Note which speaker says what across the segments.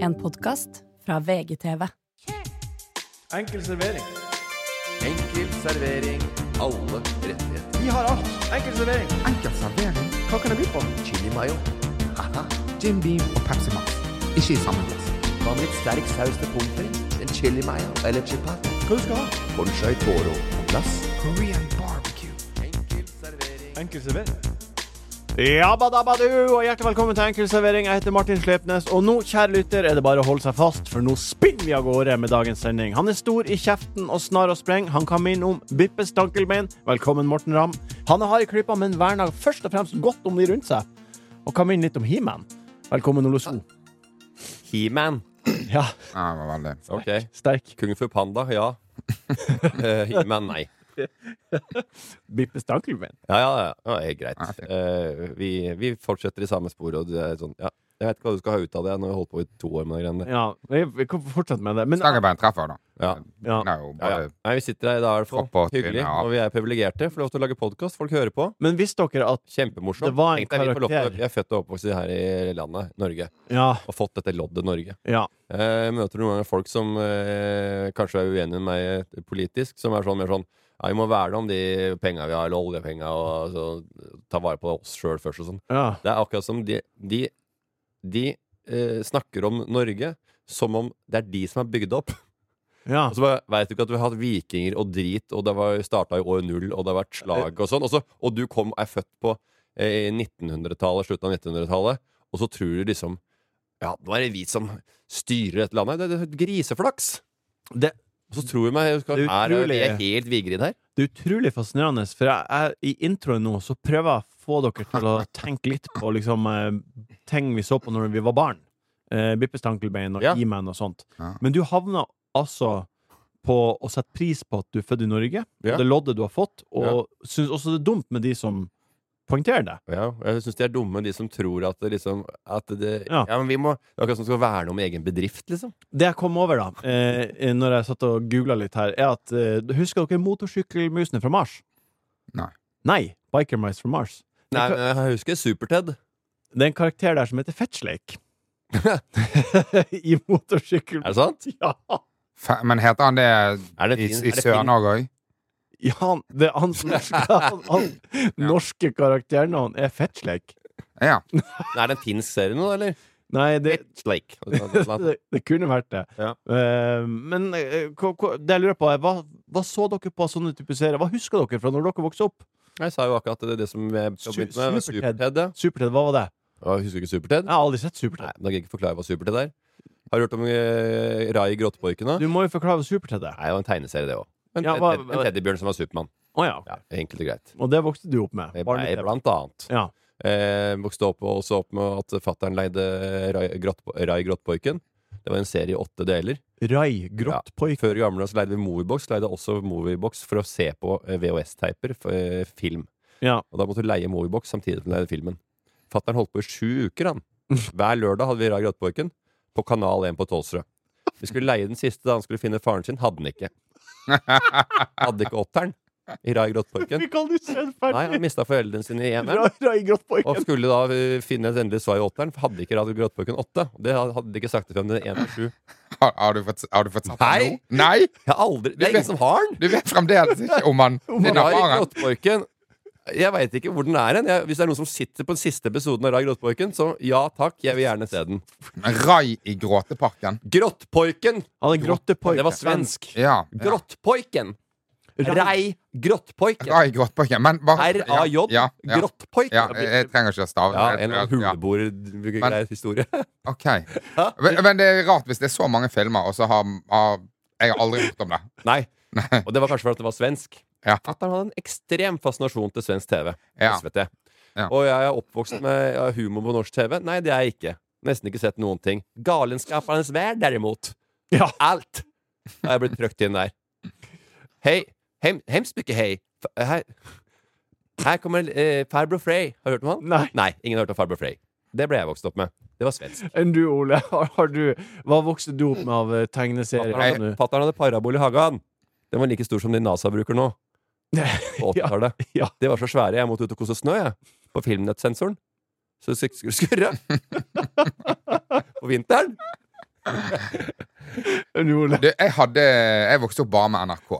Speaker 1: En podkast fra VGTV.
Speaker 2: Enkel servering.
Speaker 3: Enkel servering. Alle rettigheter.
Speaker 2: Vi har alt. Enkel servering.
Speaker 4: Enkel servering,
Speaker 2: Hva kan jeg by på?
Speaker 3: Chili mayo. Haha.
Speaker 4: Jim Beam og Pepsi Max. Ikke i samme glass.
Speaker 3: Hva med litt sterk saus til pommes frites? En chili mayo eller chipat?
Speaker 2: Hva du skal ha?
Speaker 3: Ponchai toro på glass.
Speaker 4: Korean barbecue.
Speaker 3: Enkel servering.
Speaker 2: Enkel servering. Jabba dabba du, og hjertelig velkommen til Enkel servering. Jeg heter Martin Slepnes, og nå, kjære lytter, er det bare å holde seg fast, for nå spinner vi av gårde med dagens sending. Han er stor i kjeften og snar og spreng. Han kan minne om Bippes stankelbein. Velkommen, Morten Ramm. Han er hard i klypa, men verner først og fremst godt om de rundt seg. Og kan minne litt om He-Man. Velkommen, Ole So.
Speaker 5: He-Man.
Speaker 2: Ja,
Speaker 4: Ja, det var veldig.
Speaker 5: Ok.
Speaker 2: sterk.
Speaker 5: Kung Fu Panda, ja. Eh, He-Man, nei.
Speaker 2: Bippes stankelbein.
Speaker 5: Ja, ja, ja. ja det er greit.
Speaker 4: Ja,
Speaker 2: Ah,
Speaker 4: fint.
Speaker 5: Eh, vi, vi fortsetter i samme spor, og det er sånn Ja, jeg vet ikke hva du skal ha ut av det. Nå har vi holdt på i to år med de greiene der.
Speaker 2: Ja, vi, vi kan fortsette med det. Men,
Speaker 4: Stagerbein treffer, da.
Speaker 5: Ja.
Speaker 2: ja.
Speaker 4: Det er jo
Speaker 5: Ja,
Speaker 4: bare
Speaker 5: ja. Nei, vi sitter her i dag, i hvert fall.
Speaker 4: Opp og tynn,
Speaker 5: Hyggelig.
Speaker 4: ja.
Speaker 5: Og vi er privilegerte. Får lov til å lage podkast. Folk hører på.
Speaker 2: men visste dere at
Speaker 5: Kjempemorsomt.
Speaker 2: Det var en
Speaker 5: Tenk deg, vi får lov til å-
Speaker 2: karakter.
Speaker 5: Jeg er født og oppvokst her i landet, Norge,
Speaker 2: Ja,
Speaker 5: og fått dette loddet Norge.
Speaker 2: ja.
Speaker 5: Eh, Jeg møter noen ganger folk som eh, kanskje er uenige med meg eh, politisk, som er sånn mer sånn ja, Vi må verne om de penga vi har, eller oljepenga, og så, ta vare på oss sjøl først og sånn.
Speaker 2: Ja.
Speaker 5: Det er akkurat som de De, de eh, snakker om Norge som om det er de som er bygd opp.
Speaker 2: ja.
Speaker 5: Og så bare veit du ikke at du har hatt vikinger og drit, og det var starta i år null, og det har vært slag og sånn. Og, så, og du kom er født på eh, 1900-tallet, slutten av 1900-tallet, og så tror du liksom Ja, nå er det vi som styrer dette landet. Det, det, er griseflaks!
Speaker 2: Det,
Speaker 5: Og så tror du meg jeg skal,
Speaker 2: Det er
Speaker 5: er,
Speaker 2: utrolig.
Speaker 5: jeg helt vigrid her.
Speaker 2: det er utrolig fascinerende, for jeg, jeg, i introen nå så prøver jeg å få dere til å tenke litt på liksom, eh, ting vi så på når vi var barn. Eh, Bippes tankelbein og
Speaker 5: Ja.
Speaker 2: E-Man og sånt.
Speaker 4: Ja.
Speaker 2: Men du havna altså på å sette pris på at du er født i Norge, og
Speaker 5: Ja.
Speaker 2: det loddet du har fått, og
Speaker 5: Ja.
Speaker 2: syns også det er dumt med de som poengterer det.
Speaker 5: Ja, og jeg syns de er dumme, de som tror at det liksom at det, ja.
Speaker 2: Ja.
Speaker 5: men vi må Det er akkurat som skal verne om egen bedrift, liksom.
Speaker 2: Det jeg kom over, da, eh, når jeg satt og googla litt her, er at eh, Husker dere motorsykkelmusene fra Mars?
Speaker 4: Nei.
Speaker 2: Nei. Biker Mice fra Mars.
Speaker 5: Nei, men jeg husker Super-Ted.
Speaker 2: Det er en karakter der som heter Fetchleik. I motorsykkel...
Speaker 5: Er det sant?
Speaker 2: Ja!
Speaker 4: Fe- Men heter han det
Speaker 5: Er det
Speaker 4: i,
Speaker 5: fin-
Speaker 4: i
Speaker 5: er det fin-
Speaker 4: Sør-Norge òg?
Speaker 2: ja han, det er hans norske, han, han, norske karakternavn er Fetchleik.
Speaker 4: Ja.
Speaker 5: Er det en finsk serie nå, eller?
Speaker 2: Nei, det,
Speaker 5: Slake.
Speaker 2: det, det kunne vært det.
Speaker 5: Ja.
Speaker 2: Eh, men eh, hva- hva- det jeg lurer på, er hva, hva så dere på av sånne typer serier? Hva husker dere fra når dere vokste opp?
Speaker 5: Jeg sa jo akkurat det, det som jeg
Speaker 2: Su-
Speaker 5: begynte med. var
Speaker 2: Super-Ted.
Speaker 5: Super-Ted. ja.
Speaker 2: Superted, hva var det?
Speaker 5: Ja, Husker du ikke Super-Ted?
Speaker 2: Jeg har aldri sett
Speaker 5: Nei,
Speaker 2: Superted.
Speaker 5: men Da kan jeg ikke forklare hva Super-Ted er. Har du hørt om eh, Rai Grotteborken? da?
Speaker 2: Du må jo forklare hva Superted er.
Speaker 5: Nei, det var en tegneserie, det òg. En,
Speaker 2: Ja,
Speaker 5: ted-
Speaker 2: hva-
Speaker 5: en teddybjørn som var Supermann.
Speaker 2: Å ja.
Speaker 5: Ja, enkelt og greit.
Speaker 2: Og det vokste du opp med?
Speaker 5: Nei,
Speaker 2: Barne-TV.
Speaker 5: Blant annet.
Speaker 2: Ja.
Speaker 5: Eh, vokste opp og også opp med at fattern leide Rai, Grott, Rai Grotteborken. Det var en serie i åtte deler.
Speaker 2: Rai Grottpoik.
Speaker 5: Før i gamle dager så leide vi Moviebox. Leide også Moviebox for å se på eh, VHS-teiper, f- eh, film.
Speaker 2: Ja.
Speaker 5: Og da måtte du leie Moviebox samtidig som du leide filmen. Fattern holdt på i sju uker, han. Hver lørdag hadde vi Rai Grotteborken på Kanal 1 på Tolsrød. Vi skulle leie den siste da han skulle finne faren sin. Hadde den ikke. Hadde ikke åtteren i Rai Grotteborken.
Speaker 2: Vi kan jo se den ferdig.
Speaker 5: Nei, han mista foreldrene sine i EM.
Speaker 2: Rai, Rai
Speaker 5: Og
Speaker 2: Grottpoiken.
Speaker 5: skulle da eh, finne et endelig svar i åtteren. for Hadde ikke Rai Grotteborken åtte. Det hadde de ikke sagt ifra om den ene sju.
Speaker 4: Har, har du fått, har du fått satt
Speaker 5: Nei.
Speaker 4: den nå? Nei!
Speaker 5: Jeg har aldri Det er ingen som har den!
Speaker 4: Du vet fremdeles ikke om han din
Speaker 5: Rai
Speaker 4: erfaring.
Speaker 5: Grotteborken Jeg veit ikke hvor den er hen. Jeg- Hvis det er noen som sitter på den siste episoden av Rai Grotteborken, så ja takk, jeg vil gjerne se den.
Speaker 4: Rai i Gråteparken.
Speaker 5: Grottpoiken!
Speaker 2: Han er Grottepoik.
Speaker 5: Det var svensk.
Speaker 4: Ja. ja.
Speaker 5: Grottpoiken. Rei Grottpoiken.
Speaker 4: Rai i Gråteparken. Men bare
Speaker 5: R-A-J.
Speaker 4: Ja, ja, ja.
Speaker 5: Grottpoiken.
Speaker 4: ja. Jeg trenger ikke å stave.
Speaker 5: Ja, en eller
Speaker 4: Ja.
Speaker 5: annen huleboerhistorie.
Speaker 4: OK. Men, men det er rart hvis det er så mange filmer, og så har, har Jeg har aldri hørt om det.
Speaker 5: Nei. Og det var kanskje fordi det var svensk.
Speaker 4: Ja.
Speaker 5: Fatter'n hadde en ekstrem fascinasjon til svensk TV.
Speaker 4: Ja.
Speaker 5: SVT.
Speaker 4: Ja.
Speaker 5: Og jeg er oppvokst med ja, humor på norsk TV. Nei, det er jeg ikke. Nesten ikke sett noen ting. Galenskapernes verd, derimot.
Speaker 2: Ja.
Speaker 5: Alt! Da er jeg blitt trøkt inn der. Hei. Hem, hemskt mye hei. F- Her, her kommer eh, Farbro Frey. Har du hørt om han?
Speaker 2: Nei.
Speaker 5: Nei, ingen har hørt om Farbro Frey. Det ble jeg vokst opp med. Det var svensk.
Speaker 2: Enn du, Ole. Har, har du, hva vokste du opp med av eh, tegneserier?
Speaker 5: Fatter'n hadde,
Speaker 2: Kan du-
Speaker 5: fatter'n hadde parabol i hagen. Den var like stor som de NASA bruker nå. På 80-tallet.
Speaker 2: Ja.
Speaker 5: De var så svære. Jeg måtte ut og kose snø, jeg. På filmnettsensoren. Så det skulle skurre. på vinteren.
Speaker 2: Ole.
Speaker 4: Du, jeg, hadde, jeg vokste opp bare med NRK.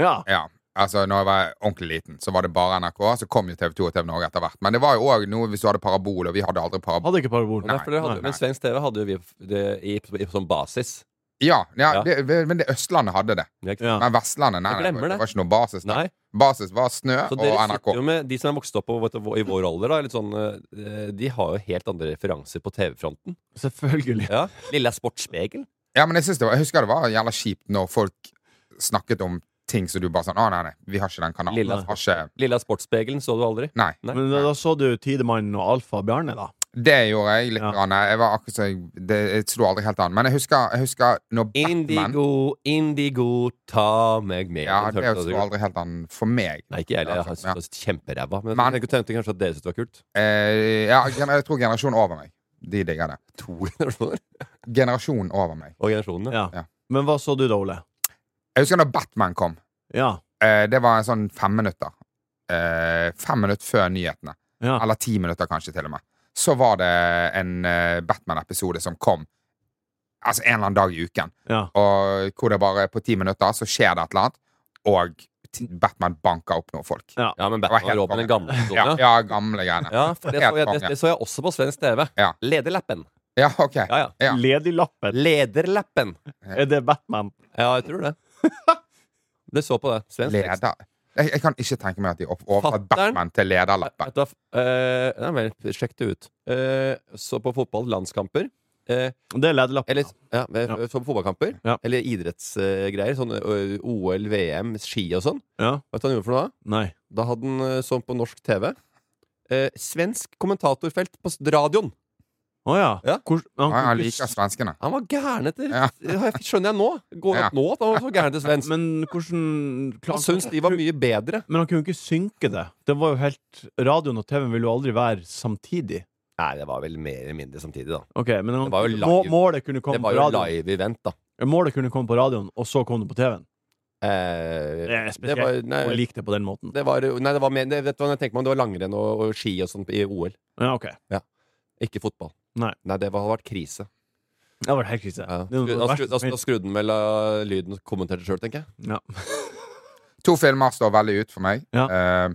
Speaker 2: Ja.
Speaker 4: Ja, altså Når jeg var ordentlig liten, så var det bare NRK. Så kom jo TV2 og TV Norge etter hvert. Men det var jo òg noe hvis du hadde parabol, og vi hadde aldri parabol.
Speaker 2: Hadde ikke parabol.
Speaker 5: Og derfor det hadde,
Speaker 4: nei, nei.
Speaker 5: Men svensk TV hadde jo vi det, i, i, som basis.
Speaker 4: Ja, ja,
Speaker 5: Ja.
Speaker 4: Det, men det Østlandet hadde det.
Speaker 2: Ja.
Speaker 4: Men Vestlandet nei,
Speaker 5: Jeg
Speaker 4: nei,
Speaker 5: glemmer
Speaker 4: det
Speaker 5: det.
Speaker 4: var ikke noe basis. der.
Speaker 5: Nei.
Speaker 4: Basis var snø
Speaker 5: Så
Speaker 4: og
Speaker 5: dere
Speaker 4: NRK.
Speaker 5: sitter jo med De som er vokst opp på, vet du, i vår alder, da, er litt sånn, eh, de har jo helt andre referanser på TV-fronten.
Speaker 2: Selvfølgelig.
Speaker 5: Ja. Lilla Sportsspegel.
Speaker 4: Ja, men jeg, synes det var, jeg husker det var jævla kjipt når folk snakket om ting som du bare sånn Å, nei, nei, vi har ikke den kanalen.
Speaker 5: Lilla-
Speaker 4: Vi har ikke
Speaker 5: Lilla Sportsspegelen så du aldri.
Speaker 4: Nei.
Speaker 5: Nei.
Speaker 2: Men da, da så du Tidemannen og Alfa og Bjarne, da.
Speaker 4: Det gjorde jeg litt.
Speaker 2: Ja.
Speaker 4: Grann. Jeg var akkurat så jeg, det, jeg slo aldri helt an. Men jeg husker, jeg husker når Batman
Speaker 5: Indigo, indigo, ta meg med.
Speaker 4: Ja,
Speaker 5: Den
Speaker 4: det
Speaker 5: hørte du
Speaker 4: slo
Speaker 5: sikkert.
Speaker 4: aldri helt an for meg.
Speaker 5: Nei, ikke jeg heller. Jeg har
Speaker 4: Ja.
Speaker 5: syntes det var kjemperæva. Men
Speaker 4: Men-
Speaker 5: jeg tenkte- tenkte kanskje at dere syntes det var kult.
Speaker 4: Eh, ja, gener- jeg tror generasjonen over meg. De digger det.
Speaker 5: To generasjoner.
Speaker 4: Generasjonen over meg.
Speaker 5: Og generasjonene.
Speaker 2: Ja.
Speaker 4: Ja.
Speaker 2: Men hva så du da, Ole?
Speaker 4: Jeg husker når Batman kom.
Speaker 2: Ja.
Speaker 4: Eh, det var en sånn fem minutter. Eh, fem minutter før nyhetene.
Speaker 2: Ja.
Speaker 4: Eller ti minutter, kanskje, til og med. Så var det en eh, Batman-episode som kom Altså en eller annen dag i uken.
Speaker 2: Ja.
Speaker 4: Og hvor det bare på ti minutter så skjer det et eller annet, og t- Batman banker opp noen folk.
Speaker 5: Ja, men Batman
Speaker 4: var
Speaker 5: var
Speaker 4: helt
Speaker 5: rå på den
Speaker 4: konge.
Speaker 5: gamle episoden,
Speaker 4: Ja,
Speaker 5: ja.
Speaker 4: ja gamle greiene.
Speaker 5: Ja, for det, så
Speaker 4: Helt
Speaker 5: jeg, det,
Speaker 4: konge.
Speaker 5: det så jeg også på svensk TV.
Speaker 4: Ja.
Speaker 5: Lederlappen.
Speaker 4: Ja, ok.
Speaker 5: Ja, ja.
Speaker 4: Ja.
Speaker 2: Lediglappen.
Speaker 5: Lederlappen.
Speaker 2: Er det Batman?
Speaker 5: Ja, jeg tror det. Det så på det. Svensk tekst.
Speaker 4: Leder jeg, jeg kan ikke tenke meg at de opp- overtatt
Speaker 5: Fatteren.
Speaker 4: Batman til lederlappen.
Speaker 5: Vet du hva, eh, nei, vel, sjekk det ut. Eh, så på fotball, landskamper. Eh,
Speaker 2: Det er Lediglappen.
Speaker 5: eller ja, eh,
Speaker 2: Ja.
Speaker 5: så på fotballkamper.
Speaker 2: Ja.
Speaker 5: Eller idrettsgreier. sånn eh, OL, VM, ski og sånn.
Speaker 2: Ja.
Speaker 5: Vet du hva han gjorde for noe da?
Speaker 2: Nei.
Speaker 5: Da hadde han eh, sånn på norsk TV. Eh, svensk kommentatorfelt på s- radioen.
Speaker 2: Å ja.
Speaker 5: Ja.
Speaker 2: Hvor, han,
Speaker 4: Ja, jeg liker svenskene.
Speaker 5: Han var gæren etter
Speaker 4: Ja.
Speaker 5: Det Skjønner jeg nå. Går
Speaker 4: Ja.
Speaker 5: opp nå at han var så gæren etter svensk.
Speaker 2: Men hvordan
Speaker 5: Han syntes de var mye bedre.
Speaker 2: Men han kunne jo ikke synke det. Det var jo helt Radioen og TV-en ville jo aldri være samtidig.
Speaker 5: Nei, det var vel mer eller mindre samtidig, da.
Speaker 2: Ok, men han,
Speaker 5: Det var jo
Speaker 2: må,
Speaker 5: live.
Speaker 2: målet kunne
Speaker 5: Det
Speaker 2: komme på
Speaker 5: var jo
Speaker 2: radioen.
Speaker 5: live event, da.
Speaker 2: Målet kunne komme på radioen, og så kom det på TV-en.
Speaker 5: Eh,
Speaker 2: Det er
Speaker 5: det var,
Speaker 2: spesielt å
Speaker 5: nei,
Speaker 2: like det på den måten.
Speaker 5: det var, nei, det var mer det, Vet du hva jeg tenker meg om? Det var langrenn og, og ski og sånn i OL.
Speaker 2: Ja, ok.
Speaker 5: Ikke fotball.
Speaker 2: Nei.
Speaker 5: det var, hadde vært krise.
Speaker 2: Det var helt krise.
Speaker 5: Ja. altså,
Speaker 2: Det er noe av
Speaker 5: Skru, da,
Speaker 2: det verste
Speaker 5: skru, da,
Speaker 2: som
Speaker 5: da skrudde den vel av lyden og kommenterte sjøl, tenker jeg.
Speaker 2: finnes. Ja.
Speaker 4: To filmer står veldig ut for meg.
Speaker 2: Ja.
Speaker 4: Eh,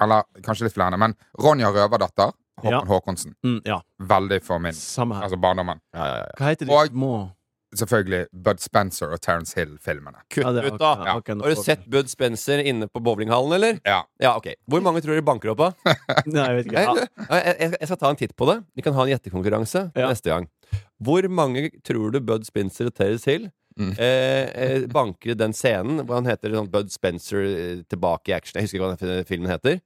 Speaker 4: eller kanskje litt flere, men Ronja Røverdatter, Håkon
Speaker 2: Ja.
Speaker 4: Håkonsen.
Speaker 2: Mm, ja.
Speaker 4: Veldig for min.
Speaker 2: Samme her.
Speaker 4: Altså barndommen.
Speaker 2: Hva heter de
Speaker 4: og-
Speaker 2: små
Speaker 4: Selvfølgelig Bud Spencer og Terence Hill-filmene.
Speaker 5: Kutt
Speaker 2: Ja, det-
Speaker 5: ut, da!
Speaker 2: ok, ja, ok, nå
Speaker 5: Har
Speaker 2: får
Speaker 5: du
Speaker 2: vi-
Speaker 5: sett Bud Spencer inne på bowlinghallen, eller?
Speaker 4: Ja.
Speaker 5: Ja, ok. Hvor mange tror dere banker opp av?
Speaker 2: Nei, jeg vet ikke.
Speaker 5: Jeg,
Speaker 2: Ja.
Speaker 5: jeg, jeg jeg skal ta en titt på det. Vi kan ha en gjettekonkurranse
Speaker 2: Ja.
Speaker 5: neste gang. Hvor mange tror du Bud Spencer og Terence Hill
Speaker 4: Mm.
Speaker 5: eh, eh, banker den scenen hvor han heter sånn Bud Spencer eh, tilbake i action? Jeg husker ikke hva den f- filmen heter.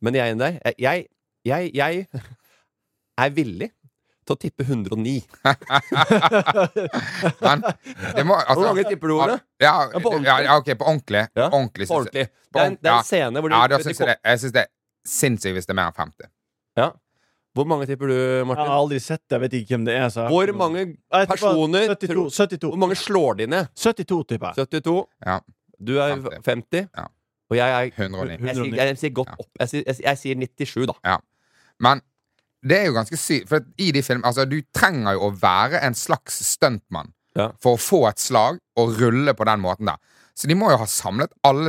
Speaker 5: Men jeg er der. Jeg, jeg, jeg, jeg er villig til å tippe 109.
Speaker 4: Men det må altså,
Speaker 5: Hvor mange tipper du, Ole?
Speaker 4: Ja,
Speaker 5: Ja, på ordentlig.
Speaker 4: ja, ja, ok, på ordentlig.
Speaker 5: Ja,
Speaker 4: På ordentlig,
Speaker 5: På
Speaker 4: synes jeg.
Speaker 5: ordentlig.
Speaker 4: På
Speaker 5: Det er, en- det er
Speaker 4: ordentlig,
Speaker 5: en scene hvor de,
Speaker 4: Ja, da
Speaker 5: de
Speaker 4: synes
Speaker 5: kom-
Speaker 4: jeg det, jeg synes det er sinnssykt hvis det er mer enn 50.
Speaker 5: Hvor mange tipper du,
Speaker 2: Jeg har
Speaker 5: Martin?
Speaker 2: aldri sett det. Jeg vet ikke hvem det er. Så jeg-
Speaker 5: Hvor mange,
Speaker 2: Jeg tipper
Speaker 5: personer
Speaker 2: 72,
Speaker 5: tror- hvor
Speaker 2: 72,
Speaker 5: mange slår de ned?
Speaker 2: 72 tipper jeg.
Speaker 5: 72.
Speaker 4: Ja.
Speaker 5: Du er
Speaker 4: 50.
Speaker 5: 50.
Speaker 4: Ja.
Speaker 5: Og jeg er
Speaker 4: 109.
Speaker 5: Jeg sier,
Speaker 2: 109.
Speaker 5: jeg sier godt
Speaker 4: Ja.
Speaker 5: opp. Jeg sier, jeg, sier- jeg sier 97, da.
Speaker 4: Men det er jo ganske sykt, for at i de filmene Altså, du trenger jo å være en slags stuntmann
Speaker 5: Ja.
Speaker 4: for å få et slag og rulle på den måten der. Så de må jo ha samlet alle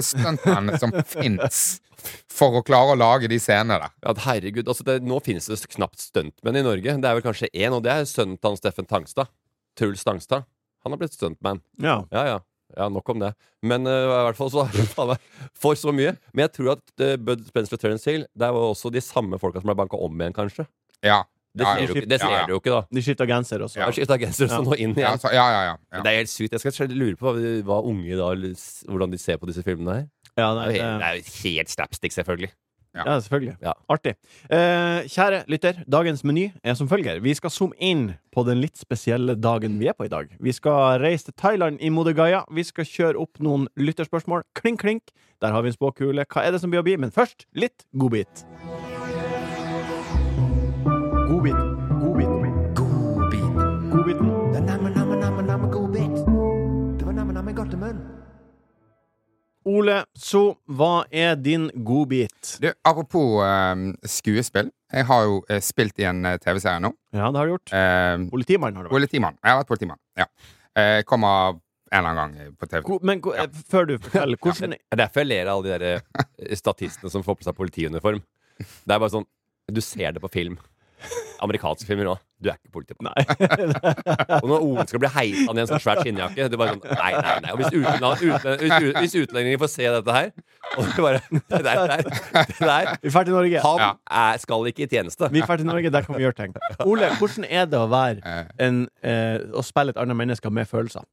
Speaker 4: stuntmennene som fins, for å klare å lage de scenene der.
Speaker 5: At herregud, altså det, Nå finnes det knapt stuntmenn i Norge. Det er vel kanskje én, og det er sønnen til han Steffen Tangstad. Truls Tangstad. Han har blitt stuntman.
Speaker 2: Ja.
Speaker 5: Ja, ja. Ja, Nok om det. Men eh, i hvert fall så faen meg, for så mye. Men jeg tror at eh, Bud Spencer og Terence Hill Det er jo også de samme folka som ble banka om igjen, kanskje.
Speaker 4: Ja.
Speaker 5: Det
Speaker 4: Ja,
Speaker 5: ser,
Speaker 4: ja.
Speaker 5: du, ikke- det
Speaker 4: Ja,
Speaker 5: ser
Speaker 4: ja.
Speaker 5: du jo ikke, da.
Speaker 2: De skifter genser også.
Speaker 5: Ja. Skifta genser og så nå inn
Speaker 4: Ja,
Speaker 5: igjen.
Speaker 4: altså, ja, ja, ja, ja.
Speaker 5: Men Det er helt sykt. Jeg skal selv lure på hva, hva unge i dag hvordan de ser på disse filmene her.
Speaker 2: Ja, nei,
Speaker 5: Det er jo
Speaker 2: det-
Speaker 5: helt, det er jo helt slapstick, selvfølgelig.
Speaker 2: Ja, selvfølgelig.
Speaker 5: Ja.
Speaker 2: Artig. Eh, kjære lytter, dagens meny er som følger. Vi skal zoome inn på den litt spesielle dagen vi er på i dag. Vi skal reise til Thailand i Modegaya. Vi skal kjøre opp noen lytterspørsmål. Klink, klink. Der har vi en spåkule. Hva er det som blir å bli? Men først litt godbit. Godbit. Godbit. Godbiten.
Speaker 3: Det er namme, namme, namme, namme godbit. Det var namme, namme godtemunn.
Speaker 2: Ole, så hva er din godbit?
Speaker 4: Du, apropos eh, skuespill. Jeg har jo eh, spilt i en eh, TV-serie nå.
Speaker 2: Ja, det har du gjort.
Speaker 4: Eh,
Speaker 2: Politimannen har du vært.
Speaker 4: politimann. Jeg har vært politimann. Ja. Eh, kommer en eller annen gang på TV.
Speaker 2: Ko- Men ko- eh, før du forteller, hvordan
Speaker 5: Det er derfor jeg ler av alle de der eh, statistene som får på seg politiuniform. Det er bare sånn Du ser det på film. Amerikanske filmer òg. Du er ikke politimann. Og når Ole skal bli heisa ned i en sånn svær skinnjakke Det er bare sånn Nei, nei, nei. Og hvis, utenland, utenland, hvis, ut- hvis utlendinger får se dette her Og det bare Det der, det der, det der
Speaker 2: Vi drar til Norge.
Speaker 5: Han
Speaker 4: Ja.
Speaker 5: er, skal ikke i tjeneste.
Speaker 2: Vi drar til Norge, der kan vi gjøre ting. Ole, hvordan er det å være
Speaker 4: Eh,
Speaker 2: en, eh, å spille et annet menneske med følelser?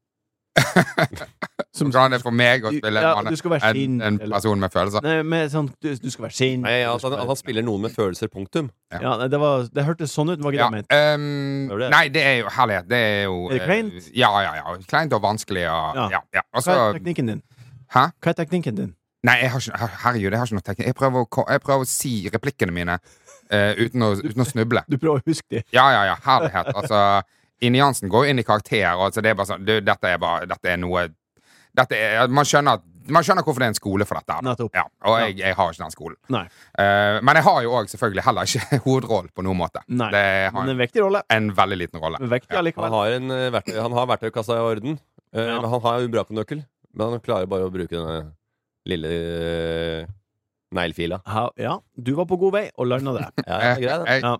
Speaker 2: Som,
Speaker 4: Hvordan er det for meg å
Speaker 2: Du-
Speaker 4: spille
Speaker 2: ja,
Speaker 4: en, annen-
Speaker 2: du skal være
Speaker 4: en,
Speaker 2: sint,
Speaker 4: en
Speaker 2: eller-
Speaker 4: person med følelser?
Speaker 2: nei, med sånn, du, du skal være sint.
Speaker 5: Nei,
Speaker 2: du
Speaker 5: altså, at
Speaker 2: skal
Speaker 5: han,
Speaker 2: være-
Speaker 5: at han spiller noen med følelser. Punktum.
Speaker 2: Ja, nei, det, var, det hørtes sånn ut, det var ikke det
Speaker 4: Ja,
Speaker 2: jeg mente.
Speaker 4: ehm,
Speaker 5: Hva er det?
Speaker 4: nei, det er jo herlighet. Det er jo
Speaker 2: Er det
Speaker 4: eh,
Speaker 2: kleint?
Speaker 4: Ja, ja, ja. Kleint og vanskelig og
Speaker 2: Ja.
Speaker 4: Ja. ja, Og
Speaker 2: Hva er
Speaker 4: så-
Speaker 2: teknikken din?
Speaker 4: altså- Hæ?
Speaker 2: Hva er teknikken din?
Speaker 4: Nei, jeg har ikke, her- herregud, jeg har ikke noe teknikk. Jeg prøver å, ko- jeg prøver å si replikkene mine eh, uten, å, uten å snuble.
Speaker 2: Du prøver å huske det.
Speaker 4: Ja, ja, ja. Herlighet. Altså, Inni Jansen går jo inn i karakter. og Altså, det er bare sånn, du, dette er bare Dette er noe dette er, man, skjønner, at- man skjønner hvorfor det er en skole for dette. her, da.
Speaker 2: Nettopp.
Speaker 4: Ja, og jeg, jeg har ikke den skolen.
Speaker 2: Nei.
Speaker 4: Eh, men jeg har jo òg selvfølgelig heller ikke hovedrollen på noen måte.
Speaker 2: Nei.
Speaker 4: Det har
Speaker 2: Men
Speaker 4: en,
Speaker 2: en viktig rolle.
Speaker 4: en veldig liten rolle.
Speaker 2: Men Vektig
Speaker 5: Han
Speaker 2: allikevel.
Speaker 5: har, en eh, verktøy, han har verktøykassa i orden. Eh,
Speaker 2: Ja.
Speaker 5: men Han har jo en brakonøkkel, men han klarer bare å bruke denne lille eh, neglefila.
Speaker 2: Ha- Ja, du var på god vei og landa det.
Speaker 5: Ja, det er greit, det.
Speaker 4: Jeg,
Speaker 2: Ja.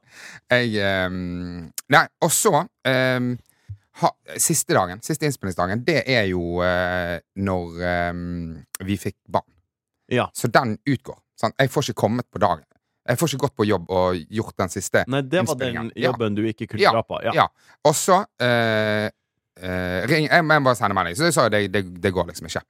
Speaker 4: jeg ehm, Nei, og så ehm, ha, Siste dagen, siste innspillingsdagen, det er jo eh, når ehm, vi fikk barn.
Speaker 2: Ja.
Speaker 4: Så den utgår. Sant? Jeg får ikke kommet på dagen. Jeg får ikke gått på jobb og gjort den siste.
Speaker 2: Nei, det var den
Speaker 4: Innspillingen. Ja.
Speaker 2: jobben du ikke kunne
Speaker 4: Ja.
Speaker 2: dra på. Ja.
Speaker 4: Ja. Og så eh, eh, ring, Jeg må bare sende melding. Så jeg sa jo det, det, det går liksom ikke.